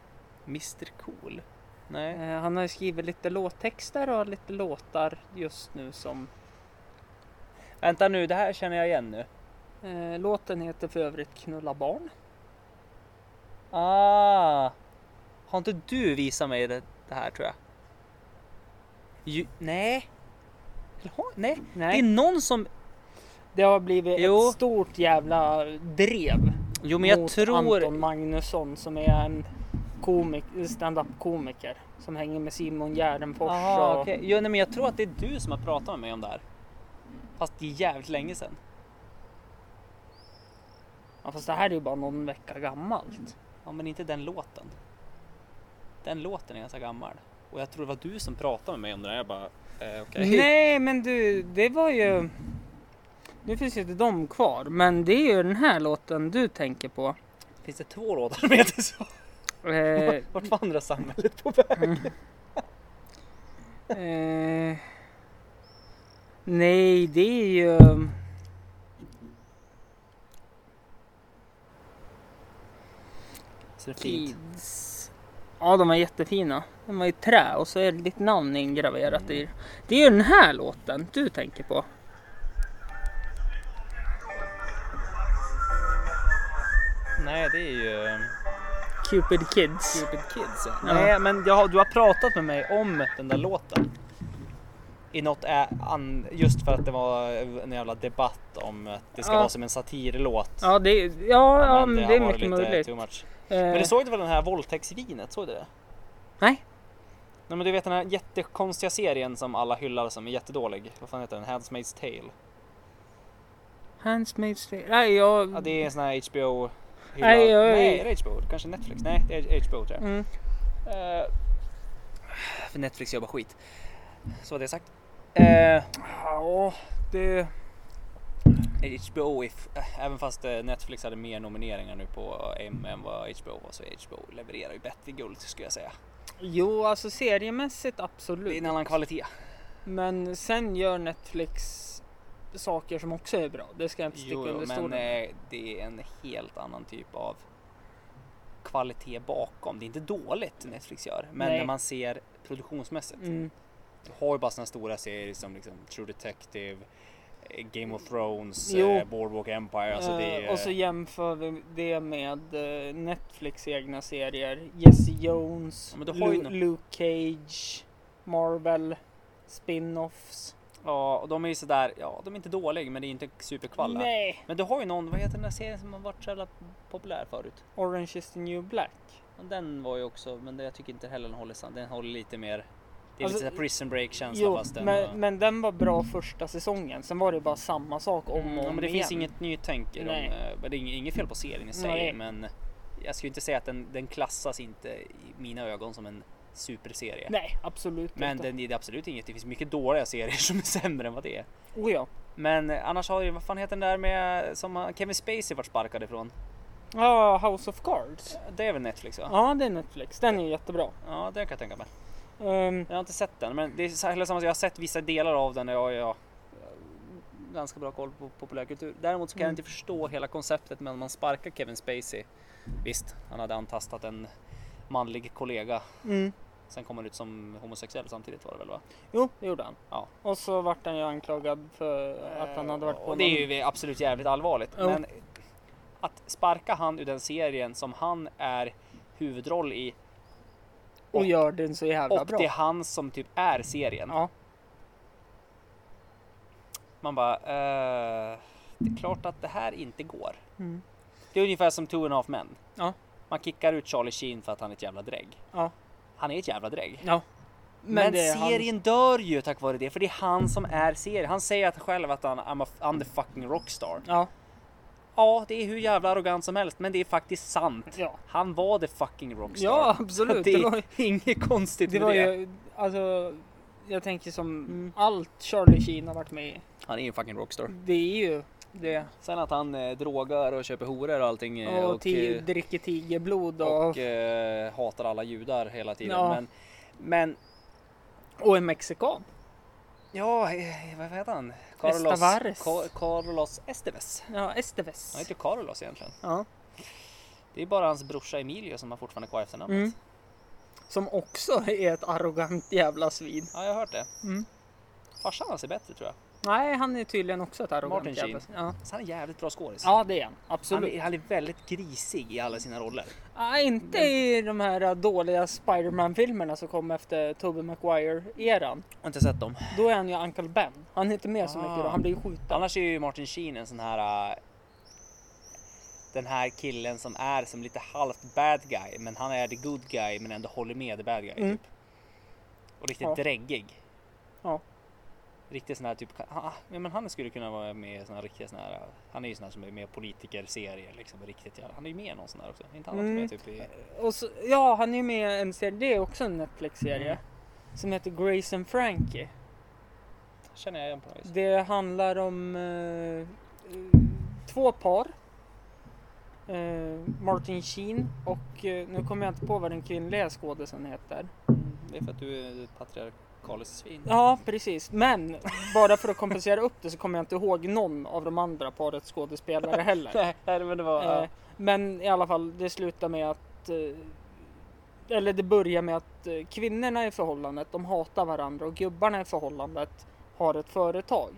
S2: Mr Cool? Mm. Nej.
S3: Eh, han har ju skrivit lite låttexter och har lite låtar just nu som...
S2: Vänta nu, det här känner jag igen nu.
S3: Eh, låten heter för övrigt Knulla barn.
S2: Ah! Har inte du visat mig det, det här tror jag? Ju, nej. Eller har- nej. Det
S3: Nej,
S2: är någon som...
S3: det har blivit
S2: Jo.
S3: ett stort jävla drev
S2: Jo men jag
S3: mot
S2: tror...
S3: Anton Magnusson som är en komik, stand-up komiker som hänger med Simon Gärdenfors.
S2: Aha,
S3: och...
S2: okej. jo, nej, men jag tror att det är du som har pratat med mig om det här. Fast det är jävligt länge sedan.
S3: Ja fast det här är ju bara någon vecka gammalt.
S2: Ja men inte den låten. Den låten är ganska gammal. Och jag tror det var du som pratade med mig om det där. Jag bara, eh, okej.
S3: Nej men du, det var ju... Nu finns ju inte de kvar men det är ju den här låten du tänker på.
S2: [LAUGHS] Finns det två låtar som heter så?
S3: Eh,
S2: Vart var andra samhället på väg?
S3: Mm. eh, nej det är ju... um,
S2: Så det är fint.
S3: Kids. Ja de var jättefina. De var i trä och så är det ditt namn ingraverat i. Det är ju den här låten du tänker på.
S2: Nej det är ju
S3: Cupid Kids.
S2: Cupid Kids. ja.
S3: Ja.
S2: Nej men jag, har- du har pratat med mig om den där låten. I något, ä- an, just för att det var en jävla debatt om att det ska
S3: Ja.
S2: vara som en satirlåt.
S3: Ja det, är- ja, ja, men det
S2: har
S3: är
S2: varit
S3: mycket möjligt.
S2: Too much.
S3: Eh,
S2: Men du såg du väl den här våldtäktsvinet? Såg du det?
S3: Nej.
S2: Nej men du vet den här jättekonstiga serien som alla hyllar som är jättedålig. Vad fan heter den? Handsmaid's Tale.
S3: Handsmaid's Tale. Nej, jag...
S2: Ja, det är en sån här HBO hylla...
S3: Nej, jag-
S2: Nej, är det HBO? Kanske Netflix? Nej, det är HBO tror jag.
S3: Mm.
S2: Eh, för Netflix jobbar skit. Så var det sagt. Eh,
S3: Ja, det...
S2: HBO, if, eh, även fast eh, Netflix hade mer nomineringar nu på M än vad HBO var så HBO levererar ju bättre guld skulle jag säga.
S3: Jo, alltså seriemässigt
S2: Det är
S3: absolut.
S2: en annan kvalitet.
S3: Men sen gör Netflix saker som också är bra. Det ska jag inte sticka
S2: Jo,
S3: under
S2: men
S3: stolen
S2: eh, det är en helt annan typ av kvalitet bakom. Det är inte dåligt Netflix gör, men
S3: Nej.
S2: när man ser produktionsmässigt.
S3: Mm.
S2: Du har ju bara sådana stora serier som liksom True Detective, eh, Game of Thrones,
S3: Jo.
S2: eh, Boardwalk Empire. Alltså det är,
S3: Eh, och så jämför vi det med eh, Netflix egna serier. Jesse Jones,
S2: Ja, men du har ju
S3: Lu-
S2: nå-
S3: Luke Cage, Marvel, spin-offs.
S2: ja, och de är ju sådär, ja de är inte dåliga men det är inte superkvalla.
S3: Nej!
S2: Men du har ju någon, vad heter den där serien som har varit så jävla populär förut?
S3: Orange is the new black.
S2: Och Den var ju också, men det, jag tycker inte heller den håller sant. Den håller lite mer, det är
S3: Alltså,
S2: lite sådär prison break känsla
S3: Jo,
S2: fast den. och-
S3: men, men den var bra första säsongen. Sen var det bara samma sak om och om
S2: Mm, ja, men det
S3: igen.
S2: finns inget nytänk i dem.
S3: Nej.
S2: eh, Men det är ing- inget fel på serien i sig.
S3: Nej.
S2: Men jag skulle inte säga att den, den klassas inte i mina ögon som en superserie.
S3: Nej, absolut
S2: men
S3: inte.
S2: den, det är absolut inget. Det finns mycket dåliga serier som är sämre än vad det är.
S3: Oh ja.
S2: Men eh, annars har ju, vad fan heter den där med som har- Kevin Spacey vart sparkad ifrån?
S3: Ja, Ah, House of Cards.
S2: Det är väl Netflix va?
S3: Ja, det är Netflix. Den är jättebra.
S2: Ja, det kan jag tänka mig.
S3: Ehm,
S2: Jag har inte sett den, men det är så- heller samma sak. Jag har sett vissa delar av den och jag har jag har eh, ganska bra koll på populärkultur. Däremot så kan jag
S3: Mm.
S2: inte förstå hela konceptet med att man sparkar Kevin Spacey. Visst, han hade antastat en manlig kollega.
S3: mm.
S2: Sen kom han ut som homosexuell samtidigt var det väl va?
S3: Jo, det gjorde han.
S2: Ja.
S3: Och så vart han ju anklagad för att han hade varit på
S2: Eh, Och det är ju absolut jävligt allvarligt.
S3: Jo.
S2: Men att sparka han ur den serien som han är huvudroll i
S3: och gör den så jävla
S2: och
S3: bra.
S2: det är han som typ är serien.
S3: Ja.
S2: Man bara, eh, det är klart att det här inte går.
S3: Mm.
S2: Det är ungefär som Two and a half men.
S3: Ja.
S2: Man kickar ut Charlie Sheen för att han är ett jävla drägg.
S3: Ja.
S2: Han är ett jävla drägg.
S3: Ja.
S2: Men,
S3: det är han-
S2: serien dör ju tack vare det, för det är han som är serien. Han säger att själv att han I'm, a, I'm the fucking rockstar.
S3: Ja.
S2: Ja, det är hur jävla arrogant som helst, men det är faktiskt sant.
S3: Ja.
S2: Han var the fucking rockstar.
S3: ja, absolut.
S2: Det
S3: Det
S2: är
S3: var,
S2: [LAUGHS] inget konstigt
S3: det
S2: med
S3: var
S2: det.
S3: ju, alltså, jag tänker som
S2: Mm.
S3: allt Charlie Sheen har varit med i.
S2: Han är ju en fucking rockstar.
S3: Det är ju det.
S2: Sen att han eh, drogar och köper horor och allting. eh,
S3: Och, ti-
S2: eh,
S3: dricker tigerblod och,
S2: och,
S3: och,
S2: eh, hatar alla judar hela tiden.
S3: Ja.
S2: Men, men
S3: en mexikan.
S2: ja, eh, vad heter han? Carlos,
S3: Estavares.
S2: Ca- Carlos Esteves.
S3: Ja,
S2: Han
S3: Esteves.
S2: heter Carlos egentligen.
S3: Ja.
S2: Det är bara hans brorsa Emilio som har fortfarande kvar efternamnet.
S3: Mm. Som också är ett arrogant jävla svin.
S2: Ja, jag har hört det.
S3: Mm.
S2: Farsan hans är bättre tror jag.
S3: Nej, han är tydligen också ett arrogant
S2: Martin
S3: jävla
S2: Sheen.
S3: svin. Ja.
S2: Så han är jävligt bra skådis.
S3: ja, det är han.
S2: han,
S3: Absolut.
S2: är, han är väldigt grisig i alla sina roller.
S3: Ja, Ah, inte i de här äh, dåliga Spiderman-filmerna som kom efter Tobey Maguire-eran.
S2: Jag har inte sett dem.
S3: Då är han ju Uncle Ben. Han är inte med så mycket då.
S2: Ah.
S3: Han blir ju skjuten.
S2: Annars är ju Martin Sheen en sån här äh, den här killen som är som lite halvt bad guy men han är the good guy men ändå håller med the bad guy
S3: Mm.
S2: typ. Och riktigt
S3: Ja.
S2: dräggig.
S3: Ja.
S2: Riktigt sån här typ, ah, ja, men han skulle kunna vara med i såna här riktiga såna här, han är ju sån här som är med i politikerserier liksom riktigt jävla, han är ju med i någon sån här också. Är Inte han också
S3: Mm.
S2: med typ i,
S3: Och så, ja, han är ju med i en serie. Det är också en Netflix-serie.
S2: Mm.
S3: Som heter Grace and Frankie.
S2: känner jag igen på något vis.
S3: Det handlar om eh, eh, två par. Eh, Martin Sheen och eh, nu kommer jag inte på vad den kvinnliga skådisen heter.
S2: Det är för att du är ett patriarkaliskt svin.
S3: Ja, precis. Men bara för att kompensera upp det så kommer jag inte ihåg någon av de andra parets skådespelare heller.
S2: [LAUGHS] Nej, men det var,
S3: Eh, Men i alla fall, det slutar med att... eh, Eller det börjar med att eh, kvinnorna i förhållandet, de hatar varandra och gubbarna i förhållandet har ett företag.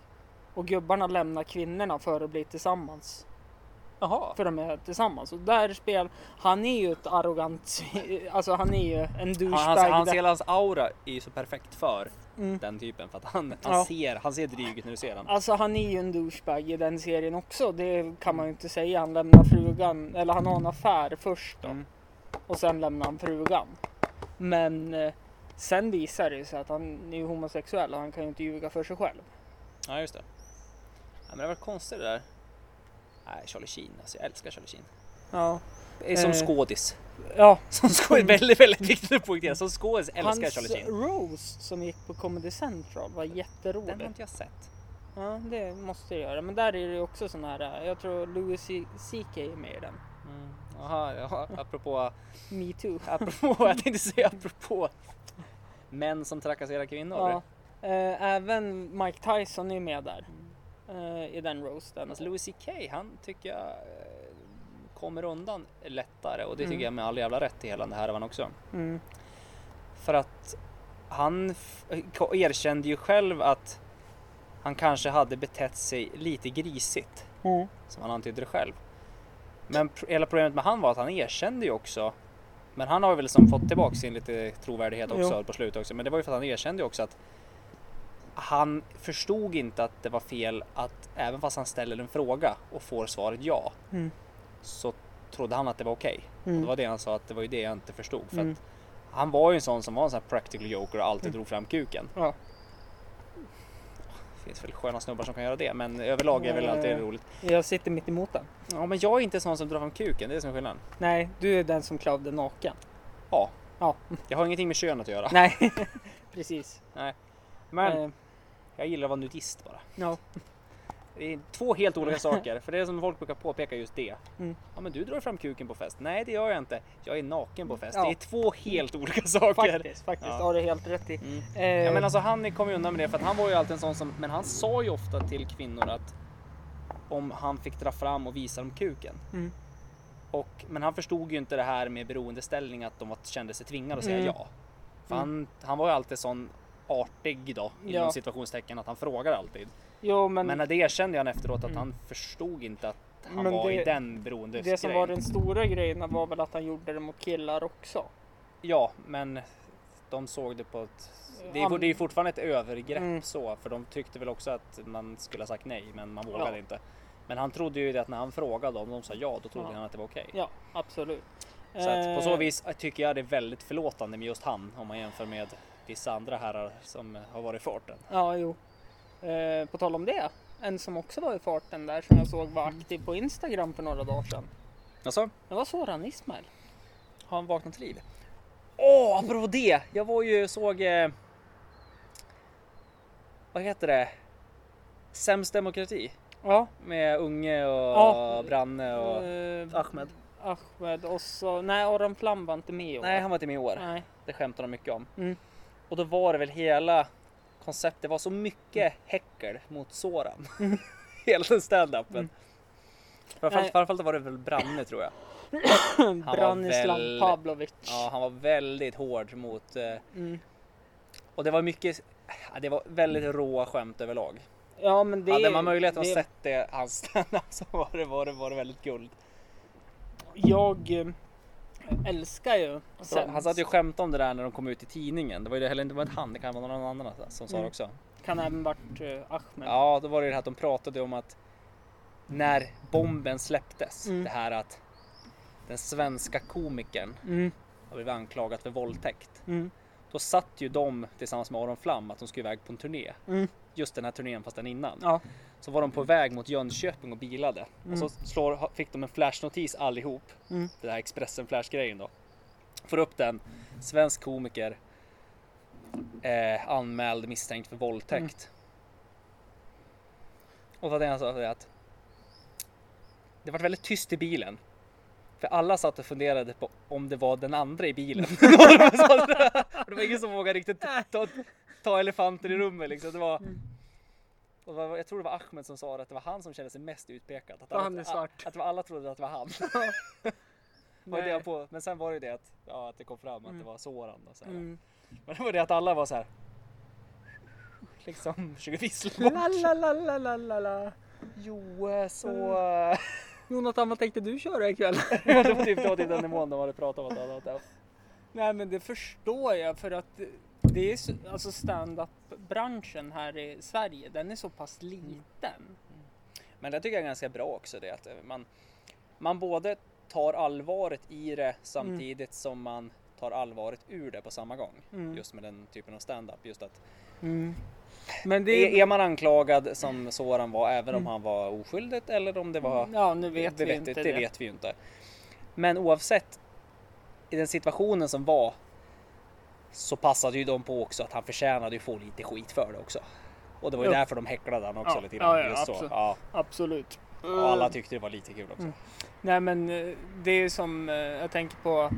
S3: Och gubbarna lämnar kvinnorna för att bli tillsammans.
S2: jaha.
S3: För de är tillsammans. Och där spel... Han är ju ett arrogant... Alltså han är ju en douchebag.
S2: Han, hans, hans,
S3: där.
S2: hela hans aura är ju så perfekt för
S3: Mm.
S2: den typen för att han, han,
S3: Ja.
S2: ser, han ser dryg ut när du ser honom.
S3: Alltså han är ju en douchebag i den serien också. Det kan man ju inte säga. Han lämnar frugan, eller han har en affär först då.
S2: Mm.
S3: Och sen lämnar han frugan. Men eh, sen visar det ju sig att han är ju homosexuell och han kan ju inte ljuga för sig själv.
S2: Ja just det. Ja, men det var konstigt det där. Nej, Charlie Sheen alltså. Jag älskar Charlie Sheen.
S3: Ja.
S2: Som
S3: Eh.
S2: skådis. [LAUGHS]
S3: ja.
S2: Som skådis, väldigt, väldigt viktigt att poängtera. Som skådis älskar jag
S3: Hans
S2: Charlie Sheen.
S3: roast som gick på Comedy Central var
S2: Den har
S3: jätterolig.
S2: inte jag sett.
S3: Ja, det måste jag göra. Men där är det ju också sån här, eh, jag tror Louis CK är med i den.
S2: Jaha, jaha, Mm. apropå,
S3: Me too.
S2: [LAUGHS] apropå, jag tänkte säga apropå män som trakasserar kvinnor.
S3: Ja. Eh, Även Mike Tyson är med där. eh, I den roasten.
S2: Alltså Louis CK, han tycker jag eh, kommer undan lättare och det tycker
S3: Mm.
S2: jag med all jävla rätt i hela den här van också.
S3: Mm.
S2: För att han f- erkände ju själv att han kanske hade betett sig lite grisigt,
S3: Mm.
S2: som han antydde det själv. Men pr- hela problemet med han var att han erkände ju också, men han har väl som fått tillbaka sin lite trovärdighet också på slutet också, men det var ju för att han erkände ju också att han förstod inte att det var fel att även fast han ställer en fråga och får svaret ja,
S3: Mm.
S2: så trodde han att det var okej.
S3: Mm.
S2: Och det var det han sa att det var ju det jag inte förstod. För
S3: Mm.
S2: att han var ju en sån som var en sån här practical joker och alltid drog fram kuken.
S3: Ja.
S2: Det finns väl sköna snubbar som kan göra det men överlag är väl
S3: Ja, ja,
S2: alltid
S3: ja.
S2: roligt.
S3: Jag sitter mitt emot den.
S2: Ja men jag är inte sån som drar fram kuken, det är det som är skillnaden.
S3: Nej, du är den som klavde naken.
S2: Ja.
S3: Ja.
S2: Jag har ingenting med kön att göra.
S3: Nej, [LAUGHS] precis.
S2: Ah. Men
S3: Eh,
S2: jag gillar att vara nudist bara.
S3: ja.
S2: Det är två helt olika
S3: [LAUGHS]
S2: saker. För det är som folk brukar påpeka just det.
S3: Mm.
S2: Ja men du drar fram kuken på fest. Nej det gör jag inte. Jag är naken på fest.
S3: Ja.
S2: Det är två helt olika saker.
S3: Faktiskt, faktiskt.
S2: Ja.
S3: Har du helt rätt i.
S2: Mm.
S3: Eh,
S2: Ja, men alltså han kom ju undan med det för att han var ju alltid en sån som, men han sa ju ofta till kvinnor att om han fick dra fram och visa dem kuken.
S3: Mm.
S2: Och, men han förstod ju inte det här med beroendeställning, att de var, kände sig tvingade att säga
S3: Mm.
S2: ja. För han, han var ju alltid sån artig då, inom
S3: Ja.
S2: situationstecken att han frågade alltid.
S3: jo, men, Mm.
S2: Men alltså, det erkände han efteråt att han förstod inte att han
S3: Men
S2: var i
S3: det-
S2: den beroende
S3: det som var den stora grejen var väl att han gjorde det mot killar också.
S2: Ja, men de såg det på ett... Det är,
S3: An-
S2: det är ju fortfarande ett övergrepp
S3: Mm.
S2: så, för de tyckte väl också att man skulle ha sagt nej, men man vågade
S3: Ja.
S2: inte. Men han trodde ju det att när han frågade om de sa ja, då trodde
S3: Ja.
S2: han att det var okej.
S3: Ja, absolut.
S2: Så att på så
S3: Eh,
S2: vis tycker jag det är väldigt förlåtande med just han om man jämför med vissa andra herrar som har varit i farten.
S3: Ja, jo. Eh, på tal om det. En som också var i farten där som jag såg var
S2: Mm.
S3: aktiv på Instagram för några dagar sedan.
S2: Alltså,
S3: Det var Soran Ismail.
S2: har han vaknat till liv? Åh, apropå det! Jag var ju såg... Eh, vad heter det? Sämst demokrati
S3: Ja.
S2: med Unge och
S3: Ja.
S2: Branne och...
S3: eh,
S2: Ahmed.
S3: Ahmed och så, nej Aron Flam var inte med i år.
S2: Nej, han var inte med i år.
S3: nej.
S2: Det skämtar de mycket om.
S3: Mm.
S2: Och då var det väl hela konceptet, det var så mycket häckel mot Soran. [LAUGHS] hela den standupen. Framförallt,
S3: Mm. Nej.
S2: framförallt var det väl Branne tror jag. var
S3: Branislav
S2: väl-
S3: Pavlovic.
S2: Ja, han var väldigt hård mot... Eh,
S3: Mm.
S2: och det var mycket... ja, Det var väldigt råa skämt överlag.
S3: Ja, men det
S2: Hade man möjlighet att
S3: det-
S2: sett det, hans standup så var det, var, det, var det väldigt guld.
S3: Jag eh, älskar ju
S2: Så han satt ju och skämtade om det där när de kom ut i tidningen. Det var ju det heller inte det var inte han, det kan vara någon annan som sa det
S3: Mm.
S2: också.
S3: Kan även varit eh, Ahmed.
S2: Ja, då var det ju det här att de pratade om att när bomben släpptes,
S3: Mm.
S2: det här att den svenska komikern
S3: Mm,
S2: har blivit anklagad för våldtäkt.
S3: mm,
S2: Då satt ju de tillsammans med Aron Flam att de skulle iväg på en turné.
S3: mm.
S2: Just den här turnén fast den innan.
S3: Ja.
S2: Så var de på väg mot Jönköping och bilade.
S3: Mm.
S2: Och så slår, fick de en flashnotis allihop.
S3: Mm.
S2: Det här Expressen Flash-grejen då. Får upp den. Svensk komiker. Eh, anmäld misstänkt för
S3: Mm.
S2: våldtäkt. Och vad det han sa det är att det var väldigt tyst i bilen. För alla satt och funderade på om det var den andra i
S3: [LAUGHS]
S2: bilen. [LAUGHS] det var ingen som vågade riktigt ta, ta elefanten i rummet liksom. Det var,
S3: Mm.
S2: och det var, jag tror det var Ahmed som sa det, att det var han som kände sig mest utpekad. Att
S3: han är svart.
S2: Att, att det var- alla trodde att det var han. Det var det jag på, men sen var det ju det att, ja, att det kom fram att det var Soran. Och så här.
S3: Mm.
S2: Men det var det att alla var så här. Liksom försöker vissla bort.
S3: Lalalalalalala.
S2: Jo, eh, så... eh,
S3: Jonathan, vad tänkte du köra ikväll?
S2: Ja, [LAUGHS] det var typ det var typ den nivån de hade pratat om. att alla- att-
S3: Nej, men det förstår jag för att det är så, alltså stand-up branschen här i Sverige. Den är så pass liten.
S2: Men det tycker jag är ganska bra också det att eh, man, man både tar allvaret i det samtidigt som man tar allvaret ur det på samma gång.
S3: Mm.
S2: Just med den typen av stand-up. Just att
S3: Men det
S2: är, Mm. är man anklagad som Soran var även om han var oskyldigt eller om det var
S3: Ja, nu vet
S2: det
S3: vi
S2: vet,
S3: inte
S2: det.
S3: det.
S2: vet vi ju inte. Men oavsett i den situationen som var så passade ju de på också att han förtjänade ju få lite skit för det också. Och det var ju
S3: Ja.
S2: därför de häcklade han också
S3: Ja,
S2: lite grann.
S3: ja, ja,
S2: just så.
S3: absolut.
S2: Ja,
S3: Absolut.
S2: och alla tyckte det var lite kul också.
S3: Mm. Nej men eh, det är ju som eh, jag tänker på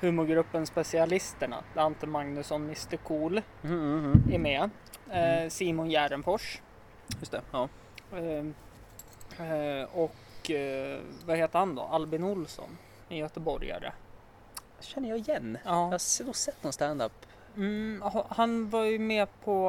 S3: humorgruppen Specialisterna. Där Ante Magnusson, Mr Cool är med. Eh,
S2: Mm.
S3: Simon Järnfors.
S2: Just det. Ja.
S3: Eh, eh, och eh, vad heter han då? Albin Olsson. En göteborgare.
S2: Känner jag igen. Jag
S3: Ja.
S2: har nog sett någon standup.
S3: Mm, ha- han var ju med på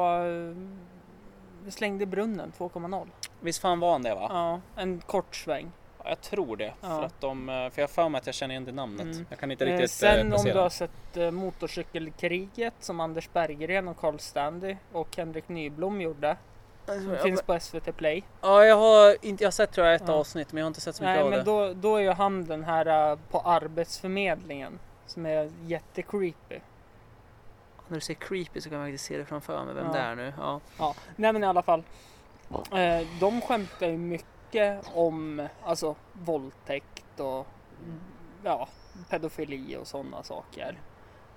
S3: eh, Slängde brunnen 2.0.
S2: Visst fan var han det va?
S3: Ja, en kort sväng.
S2: Ja, jag tror det. För,
S3: Ja.
S2: att de, eh, för jag har för mig att jag känner igen det namnet.
S3: Mm.
S2: Jag kan inte
S3: Eh,
S2: riktigt eh,
S3: Sen om
S2: placera.
S3: du har sett eh, Motorcykelkriget som Anders Berggren och Carl Stanley och Henrik Nyblom gjorde. Som
S2: jag-
S3: finns på SVT Play.
S2: Ja, jag har, inte, jag har sett tror jag ett
S3: Ja.
S2: avsnitt men jag har inte sett så mycket
S3: Nej
S2: av
S3: men
S2: det.
S3: då, då är ju han den här eh, på Arbetsförmedlingen. Som är jättecreepy.
S2: När du säger creepy så kan jag faktiskt se det framför mig, vem
S3: Ja.
S2: det är nu. Ja.
S3: Ja, nej men i alla fall. Eh, de skämtar ju mycket om alltså våldtäkt och ja, pedofili och sådana saker.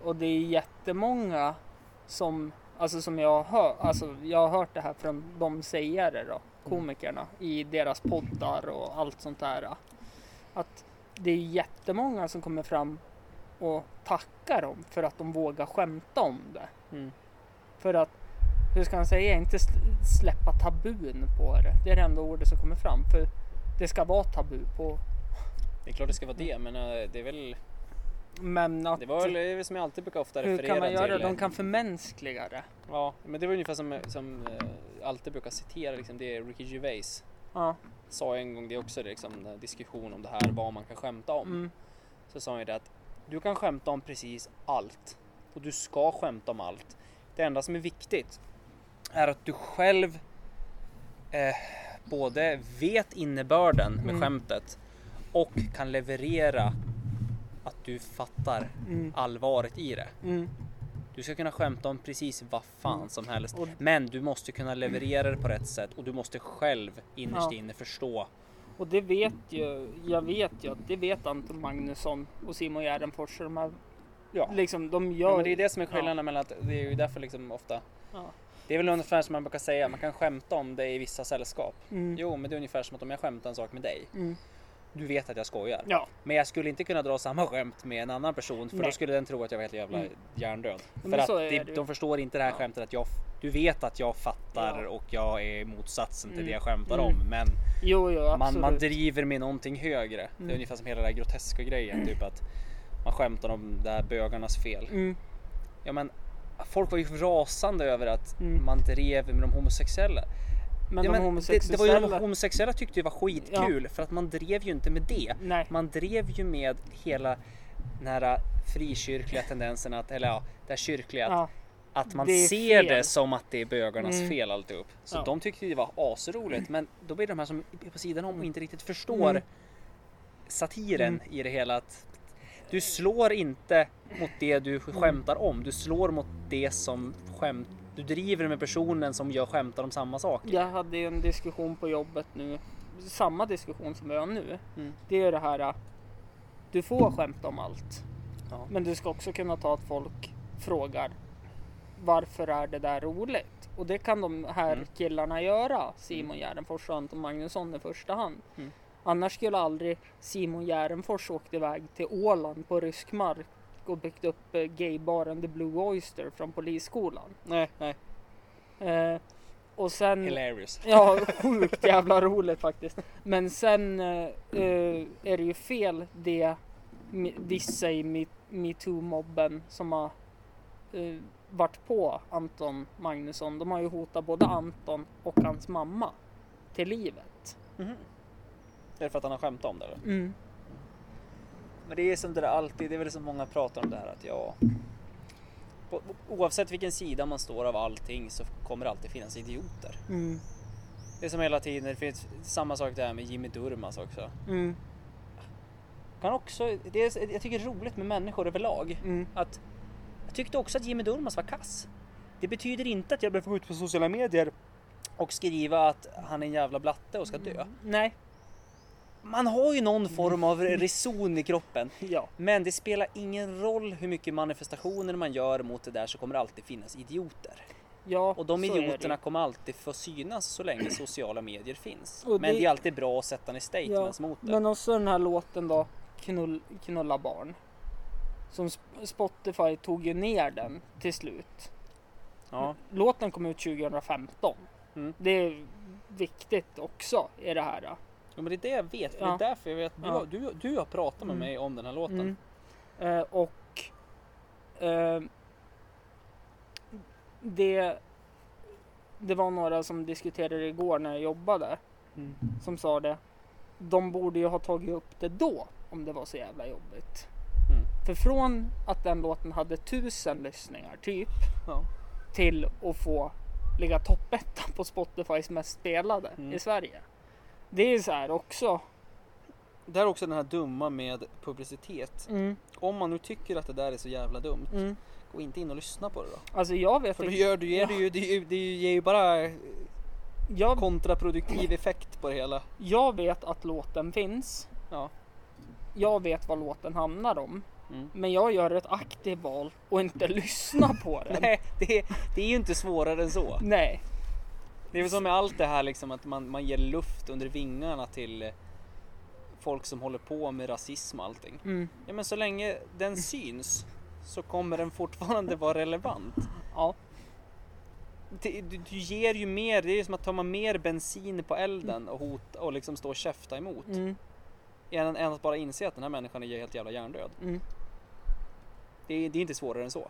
S3: Och det är jättemånga som, alltså som jag har hört, alltså jag har hört det här från de sägare då, komikerna i deras poddar och allt sånt där. Att det är jättemånga som kommer fram och tackar dem för att de vågar skämta om det.
S2: Mm.
S3: För att hur ska man säga, inte sl- släppa tabun på det. Det är det enda ordet som kommer fram. För det ska vara tabu på.
S2: Det är klart det ska vara det, men eh, det är väl,
S3: Men att,
S2: det var väl det är väl som jag alltid brukar ofta
S3: hur
S2: referera
S3: kan man göra
S2: till.
S3: det? De kan förmänskliga det.
S2: Ja, men det var ungefär som, som eh, jag alltid brukar citera, liksom, det är Ricky Gervais
S3: Ja,
S2: sa en gång det också, det är liksom en diskussion om det här, vad man kan skämta om.
S3: mm,
S2: Så sa han ju det att du kan skämta om precis allt och du ska skämta om allt. Det enda som är viktigt är att du själv eh, både vet innebörden med
S3: Mm.
S2: skämtet och kan leverera att du fattar
S3: mm,
S2: allvaret i det.
S3: mm.
S2: Du ska kunna skämta om precis vad fan som helst.
S3: Och-
S2: Men du måste kunna leverera det på rätt sätt och du måste själv innerst
S3: Ja.
S2: inne förstå.
S3: Och det vet ju, jag vet ju att det vet Anton Magnusson och Simon Gärdenfors. och De här,
S2: Ja.
S3: liksom, de gör...
S2: Ja, men det är det som är skillnaden mellan att det är ju därför liksom ofta
S3: Ja.
S2: Det är väl ungefär som man brukar säga, man kan skämta om det i vissa sällskap.
S3: Mm,
S2: Jo, men det är ungefär som att om jag skämtar en sak med dig,
S3: mm,
S2: du vet att jag skojar.
S3: ja.
S2: Men jag skulle inte kunna dra samma skämt med en annan person för då
S3: Nej. Mm.
S2: skulle den tro att jag var helt jävla hjärndöd.
S3: men
S2: För att
S3: så är
S2: det,
S3: det ju.
S2: de förstår inte det här
S3: Ja.
S2: skämtet att jag, du vet att jag fattar
S3: Ja.
S2: och jag är motsatsen till
S3: Mm.
S2: det jag skämtar
S3: Mm.
S2: om. Men
S3: Jo, jo, absolut.
S2: man, man driver med någonting högre. Det är
S3: Mm.
S2: ungefär som hela den här groteska grejen, typ att man skämtar om det här bögarnas fel.
S3: mm,
S2: Ja men folk var ju rasande över att
S3: Mm.
S2: man drev med de homosexuella.
S3: men
S2: ja,
S3: de
S2: men
S3: homosexuella...
S2: Det, det var ju de homosexuella tyckte ju var skitkul för att man drev ju inte med det.
S3: Nej.
S2: Man drev ju med hela den här frikyrkliga tendensen att, eller ja, det här kyrkliga att,
S3: ja.
S2: att man
S3: det är
S2: ser
S3: fel.
S2: det som att det är bögarnas
S3: Mm.
S2: fel alltihop. Så
S3: Ja.
S2: de tyckte ju det var asroligt men då blir det de här som är på sidan om och inte riktigt förstår
S3: Mm.
S2: satiren i det hela. Att du slår inte mot det du skämtar om, du slår mot det som skämt du driver med personen som gör skämtar om samma saker.
S3: Jag hade ju en diskussion på jobbet nu, samma diskussion som vi har nu.
S2: Mm.
S3: Det är ju det här, äh, du får skämta om allt.
S2: Ja.
S3: Men du ska också kunna ta att folk frågar, varför är det där roligt? Och det kan de här
S2: Mm.
S3: killarna göra, Simon Gärdenfors och Anton Magnusson i första hand.
S2: Mm.
S3: Annars skulle aldrig Simon Gärdenfors åkt iväg till Åland på rysk mark och byggt upp eh, gaybaren The Blue Oyster från polisskolan.
S2: Nej, nej.
S3: Eh, och sen...
S2: Hilarious.
S3: Ja, sjukt jävla roligt faktiskt. Men sen eh, eh, är det ju fel det mi- vissa i Me- metoo-mobben som har eh, varit på Anton Magnusson. De har ju hotat både Anton och hans mamma till livet.
S2: Är det för att han har skämtat om det eller? Men det är som det där alltid, det är väl som många pratar om det här att ja. på- Oavsett vilken sida man står av allting så kommer det alltid finnas idioter.
S3: Mm.
S2: Det är som hela tiden, det finns samma sak där med Jimmy Durmaz också.
S3: Mm.
S2: Kan också, det är, jag tycker det är roligt med människor överlag.
S3: Mm.
S2: Att, jag tyckte också att Jimmy Durmaz var kass. Det betyder inte att jag behöver gå ut på sociala
S3: Mm.
S2: medier och skriva att han är en jävla blatte och ska dö.
S3: Nej.
S2: man har ju någon form av
S3: Mm.
S2: reson i kroppen.
S3: Ja.
S2: Men det spelar ingen roll hur mycket manifestationer man gör mot det där så kommer det alltid finnas idioter.
S3: ja,
S2: Och de
S3: så är det ju.
S2: idioterna kommer alltid få synas så
S3: [CLEARS THROAT]
S2: länge sociala medier finns.
S3: Och
S2: Men
S3: det-
S2: det är alltid bra att sätta ner
S3: Ja,
S2: statements mot det.
S3: men också den här låten då, Knull, Knulla barn. Som Sp- Spotify tog ju ner den till slut.
S2: Ja.
S3: Låten kom ut 2015.
S2: Mm.
S3: Det är viktigt också i det här. Då.
S2: Ja, men det är det jag vet. för
S3: Ja.
S2: Det är därför jag vet. Du,
S3: Ja.
S2: har, du, du har pratat med
S3: Mm.
S2: mig om den här låten.
S3: Mm. Eh, och eh, det, det var några som diskuterade igår när jag jobbade
S2: Mm.
S3: som sa det. De borde ju ha tagit upp det då om det var så jävla jobbigt.
S2: Mm.
S3: För från att den låten hade tusen lyssningar typ
S2: Ja.
S3: till att få ligga toppetta på Spotifys mest spelade
S2: Mm.
S3: i Sverige. Det är så här också.
S2: Det här är också den här dumma med publicitet. Om man nu tycker att det där är så jävla dumt,
S3: Mm.
S2: gå inte in och lyssna på det då.
S3: Alltså jag vet
S2: mm. För då
S3: inte.
S2: gör du, ger du ju, det, är ju- det är ju- ger ju bara
S3: Jag
S2: kontraproduktiv effekt på det hela.
S3: Jag vet att låten finns.
S2: Ja.
S3: Jag vet vad låten handlar om.
S2: Mm.
S3: Men jag gör ett aktivt val och inte [LAUGHS] lyssnar på den.
S2: [LAUGHS] Nej, det, är- det är ju inte svårare än så.
S3: Nej.
S2: Det är väl som med allt det här liksom att man, man ger luft under vingarna till eh, folk som håller på med rasism och allting.
S3: Mm.
S2: Ja men så länge den syns så kommer den fortfarande vara relevant.
S3: Ja.
S2: Det, du, du ger ju mer, det är ju som att ta mer bensin på elden och hota och liksom stå och käfta emot.
S3: Mm.
S2: Än, än att bara inse att den här människan är helt jävla hjärndöd.
S3: Mm.
S2: Det, är- det är inte svårare än så.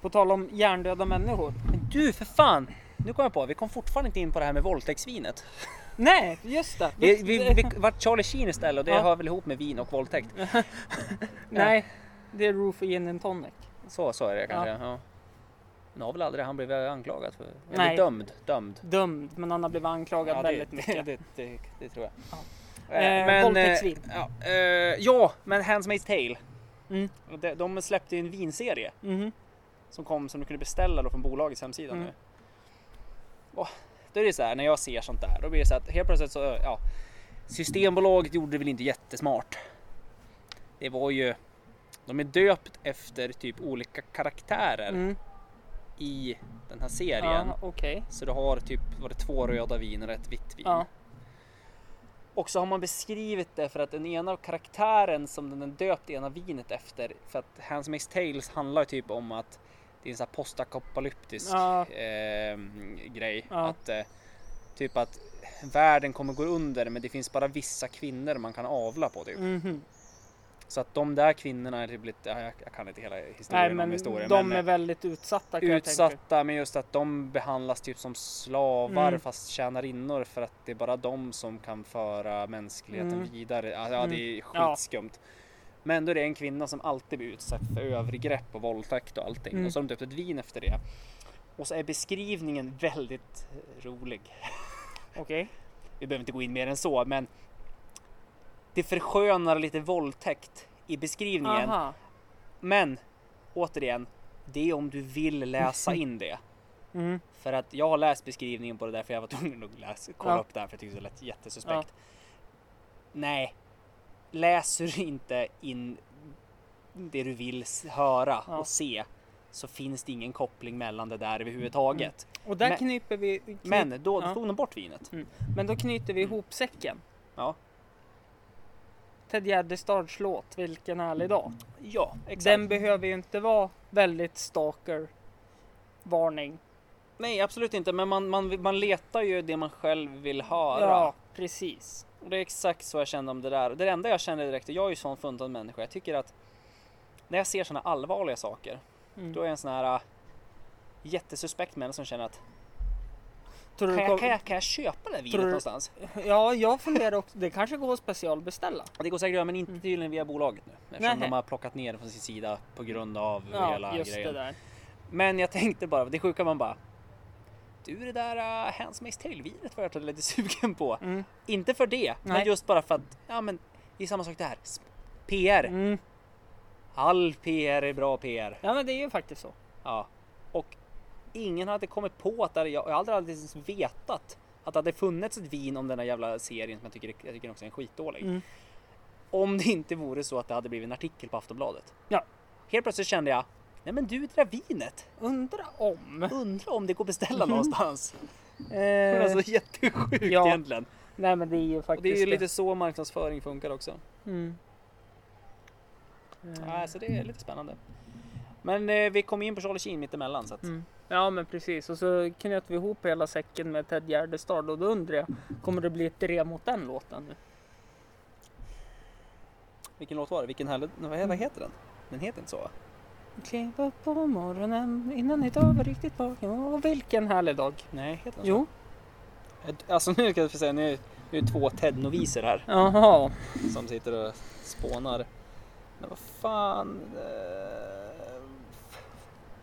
S3: På tal om hjärndöda människor.
S2: Men du för fan! Nu kom jag på, vi kom fortfarande inte in på det här med våldtäktsvinet.
S3: Nej, just det.
S2: Vi, vi, vi vart Charlie Sheen istället och det
S3: Ja.
S2: hör väl ihop med vin och våldtäkt.
S3: Nej, det är Roof och Gin and Tonic.
S2: Så sa jag det kanske. Ja. Men har väl aldrig han blivit anklagad för? Eller
S3: Nej.
S2: dömd. Dömd.
S3: Dömd, men han har blivit anklagad
S2: Ja, [LAUGHS] det,
S3: väldigt
S2: det,
S3: mycket.
S2: det, det, det tror jag.
S3: Eh, våldtäktsvin.
S2: eh, Ja, eh, ja, men Hands Maid's Tale.
S3: Mm.
S2: Och De, de släppte ju en vinserie
S3: Mhm.
S2: som kom som du kunde beställa då från bolagets hemsida
S3: Mm.
S2: nu. Och, då är det så här när jag ser sånt där, då blir det så att helt plötsligt så, ja, Systembolaget gjorde det väl inte jättesmart. Det var ju, de är döpt efter typ olika karaktärer
S3: Mm.
S2: i den här serien.
S3: Ja, okej.
S2: Så du har typ var det två röda viner och ett vitt vin.
S3: Ja.
S2: Och så har man beskrivit det för att den ena av karaktären som den är döpt ena vinet efter, för att Hans Makes Tales handlar typ om att det är en sån här postakapokalyptisk
S3: Ja.
S2: ehm, grej.
S3: Ja.
S2: Att, eh, typ att världen kommer gå under men det finns bara vissa kvinnor man kan avla på typ.
S3: Mhm.
S2: Så att de där kvinnorna är typ lite, ja, jag, jag kan inte hela historien
S3: Nej,
S2: om
S3: men
S2: historien.
S3: de
S2: men, eh,
S3: är väldigt utsatta kan jag tänka.
S2: utsatta men just att de behandlas typ som slavar
S3: Mm.
S2: fast tjänarinnor för att det är bara de som kan föra mänskligheten
S3: Mm.
S2: vidare. Ja, ja,
S3: Mm.
S2: det är
S3: Ja.
S2: skitskumt. Men då är det en kvinna som alltid blir utsatt för övergrepp och våldtäkt och allting
S3: Mm.
S2: och så har de döpt ett vin efter det. Och så är beskrivningen väldigt rolig.
S3: Okej.
S2: Vi behöver inte gå in mer än så men det förskönar lite våldtäkt i beskrivningen.
S3: Aha.
S2: Men återigen, det är om du vill
S3: [LAUGHS]
S2: läsa in det.
S3: Mm.
S2: För att jag har läst beskrivningen på det där för jag var [LAUGHS] tvungen att läsa, kolla
S3: Ja.
S2: upp det här för jag tyckte det lät jättesuspekt. Nej, läser du inte in det du vill s- höra
S3: Ja.
S2: och se så finns det ingen koppling mellan det där överhuvudtaget.
S3: Och där
S2: Men-
S3: knyper vi... knyp-
S2: Men då
S3: Mm. Ja.
S2: tog de bort vinet.
S3: Men då knyter vi ihop säcken.
S2: Ja.
S3: Ted Gärdestads låt Vilken härlig dag.
S2: Ja, exakt.
S3: Den behöver ju inte vara väldigt stalker varning.
S2: Nej, absolut inte. Men man, man, man letar ju det man själv vill höra.
S3: Ja, precis.
S2: Och det är exakt så jag kände om det där. Det enda jag kände direkt, och jag är ju sån funtad människa, jag tycker att när jag ser såna allvarliga saker,
S3: Mm.
S2: då är jag en sån här äh, jättesuspekt människa som känner att
S3: Tror du
S2: kan jag,
S3: det
S2: kan
S3: kom...
S2: jag, kan jag köpa det här vinet
S3: Tror du-
S2: någonstans?
S3: Ja, jag funderar också. Det kanske går att specialbeställa.
S2: Och Det går säkert att göra, men
S3: Mm.
S2: inte tydligen via bolaget nu. Eftersom
S3: Nähä.
S2: de har plockat ner det från sin sida på grund av
S3: Ja,
S2: hela
S3: just det
S2: grejen.
S3: där.
S2: Men jag tänkte bara, det sjuka man bara du det där uh, Hands Makes Tale-vinet var jag lite sugen på.
S3: Mm.
S2: Inte för det, men
S3: Nej.
S2: just bara för att ja, men, det är samma sak där. S- PR.
S3: Mm.
S2: All PR är bra PR.
S3: Ja, men det är ju faktiskt så.
S2: Ja. Och ingen hade kommit på att det, jag, jag hade aldrig ens vetat att det hade funnits ett vin om den här jävla serien som jag tycker, jag tycker också är en skitdålig.
S3: Mm.
S2: Om det inte vore så att det hade blivit en artikel på Aftonbladet.
S3: Ja.
S2: Helt plötsligt kände jag, nej men du det där vinet,
S3: Undra om.
S2: undra om det går att beställa någonstans. Det var
S3: Mhm. [LAUGHS] Eh,
S2: så jättesjukt
S3: Ja,
S2: egentligen.
S3: nej men det är ju
S2: Och
S3: faktiskt
S2: det är ju lite så marknadsföring funkar också.
S3: Mm.
S2: Ja, så det är lite spännande. Men eh, vi kom in på Charlie Sheen mittemellan så att
S3: Mm. Ja men precis och så knöt vi ihop hela säcken med Ted Gärdestad och då undrar jag, kommer det bli ett drev mot den låten nu?
S2: vilken låt var det? Vilken härlig, vad
S3: Mm.
S2: vad heter den? Den heter inte så va?
S3: Klev upp på morgonen innan idag var riktigt vaken. Åh, vilken härlig dag.
S2: Nej, heter den så?
S3: Jo,
S2: Alltså [LAUGHS] nu kan jag säga, nu är det ju två Ted-noviser här.
S3: jaha.
S2: som sitter och spånar. Men vad fan. eh,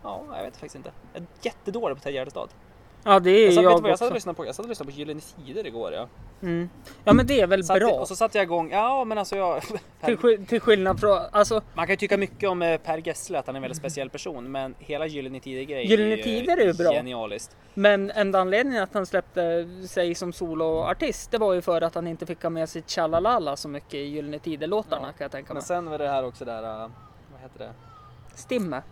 S2: Ja, jag vet faktiskt inte. Jag är jättedålig på Ted Gärdestad.
S3: Ja det är
S2: Jag, satt-
S3: jag,
S2: vet du vad jag satt och
S3: också.
S2: lyssnade på? Jag satt och lyssnade på Gyllene Tider igår. Ja.
S3: Mm. Ja men det är väl
S2: Satt,
S3: bra.
S2: Och så satte jag igång. Ja, men alltså jag... [LAUGHS]
S3: Till, skill- till skillnad från, alltså
S2: Man kan ju tycka mycket om eh, Per Gessle, att han är en väldigt speciell person. Men hela Gyllene Tider-grejen
S3: Mm. Gyllene Tider är ju bra.
S2: genialiskt.
S3: men enda anledningen att han släppte sig som soloartist det var ju för att han inte fick ha med sig Chalalala så mycket i Gyllene Tider-låtarna
S2: Ja,
S3: kan jag tänka mig.
S2: Men sen var det här också där... eh, Vad heter det?
S3: Stimme.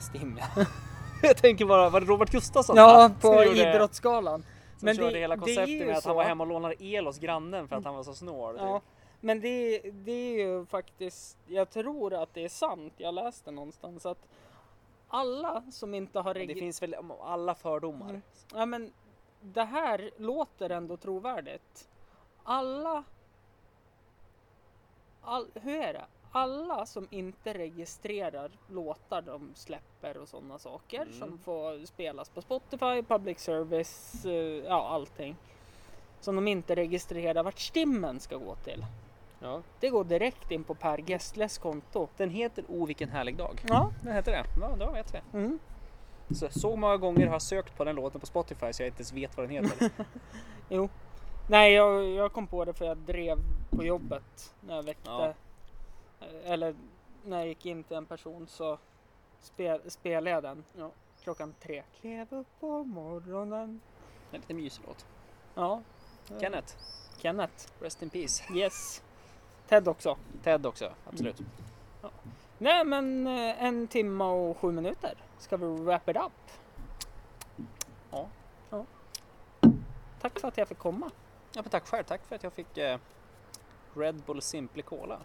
S2: Stim, ja. [LAUGHS] Jag tänker bara, var det Robert Gustafsson?
S3: Ja,
S2: va?
S3: på
S2: Som gjorde-
S3: Idrottsgalan.
S2: Som körde hela konceptet
S3: ju
S2: med att han
S3: så. Mm.
S2: var hemma och lånade el hos grannen för att han var så snål.
S3: Ja,
S2: Typ.
S3: men det, det är ju faktiskt, jag tror att det är sant, jag läste någonstans att alla som inte har
S2: Men Det
S3: regi-
S2: finns väl om alla fördomar.
S3: Mm. Ja men det här låter ändå trovärdigt. Alla... All, hur är det? Alla som inte registrerar låtar de släpper och sådana saker
S2: Mm.
S3: som får spelas på Spotify, public service, eh, ja allting. Som de inte registrerar vart stimmen ska gå till.
S2: Ja.
S3: Det går direkt in på Per Gessles konto.
S2: Den heter O vilken härlig dag.
S3: Ja.
S2: Den heter det. Ja, då vet vi.
S3: Mm.
S2: Så, så många gånger har jag sökt på den låten på Spotify så jag inte ens vet vad den
S3: [LAUGHS]
S2: heter.
S3: Jo. Nej, jag, jag kom på det för jag drev på jobbet när jag väckte.
S2: Ja.
S3: Eller när jag gick in till en person så spel, spelade jag den. Klockan tre. Klev upp på morgonen.
S2: En lite mysig låt.
S3: Ja,
S2: Kenneth,
S3: Kenneth.
S2: Rest in Peace.
S3: Yes. Ted också.
S2: Ted också, absolut.
S3: Nej, men eh, en timme och sju minuter. Ska vi wrap it up?
S2: Ja.
S3: ja. Tack för att jag fick komma.
S2: Ja, men tack själv, tack för att jag fick eh, Red Bull Simply Cola.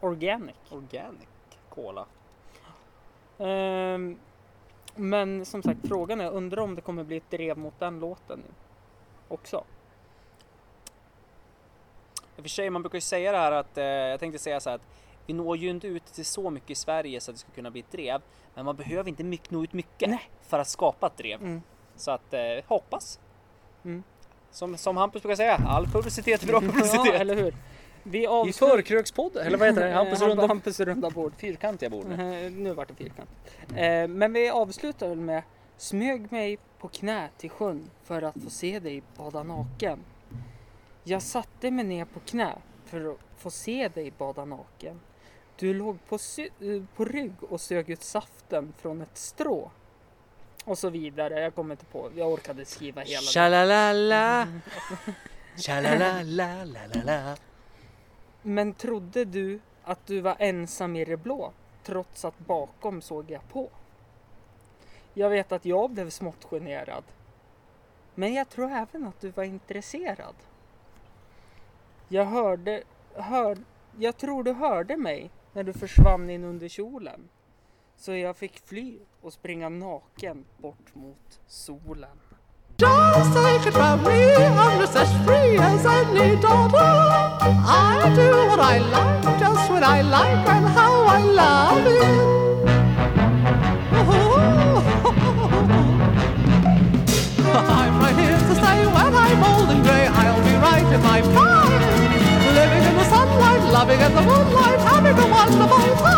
S3: Organic.
S2: Organic Cola.
S3: Ehm, men som sagt, frågan är, undrar om det kommer bli ett drev mot den låten nu också.
S2: I och för sig, man brukar ju säga det här att, eh, jag tänkte säga så här att vi når ju inte ut till så mycket i Sverige så att det ska kunna bli ett drev. Men man behöver inte mycket, nå ut mycket för att skapa ett drev.
S3: Mm.
S2: Så att eh, hoppas.
S3: Mm.
S2: Som, som Hampus brukar säga, all publicitet är [LAUGHS] bra publicitet.
S3: Ja, eller hur? Vi
S2: I
S3: avslutar...
S2: förkrökspodden, eller vad heter [LAUGHS] det? Hampus runda,
S3: Hampus runda bord.
S2: fyrkantiga bord. nu.
S3: Eh, [LAUGHS] nu vart det fyrkant. Eh, men vi avslutar väl med Smög mig på knä till sjön för att få se dig bada naken. Jag satte mig ner på knä för att få se dig bada naken. Du låg på, sy- eh, på rygg och sög ut saften från ett strå. Och så vidare. Jag kommer inte på. Jag orkade skriva hela. det.
S2: [LAUGHS] Tjalalala. Tjalalalalala.
S3: Men trodde du att du var ensam i det blå? Trots att bakom såg jag på. Jag vet att jag blev smått generad. Men jag tror även att du var intresserad. Jag hörde... Hör, jag tror du hörde mig när du försvann in under kjolen. Så jag fick fly och springa naken bort mot solen.
S1: Just take it from me, I'm just as free as any daughter. I do what I like, just when I like, and how I love it. [LAUGHS] I'm right here to say when I'm old and grey, I'll be right in my prime. Living in the sunlight, loving in the moonlight, having a wonderful time.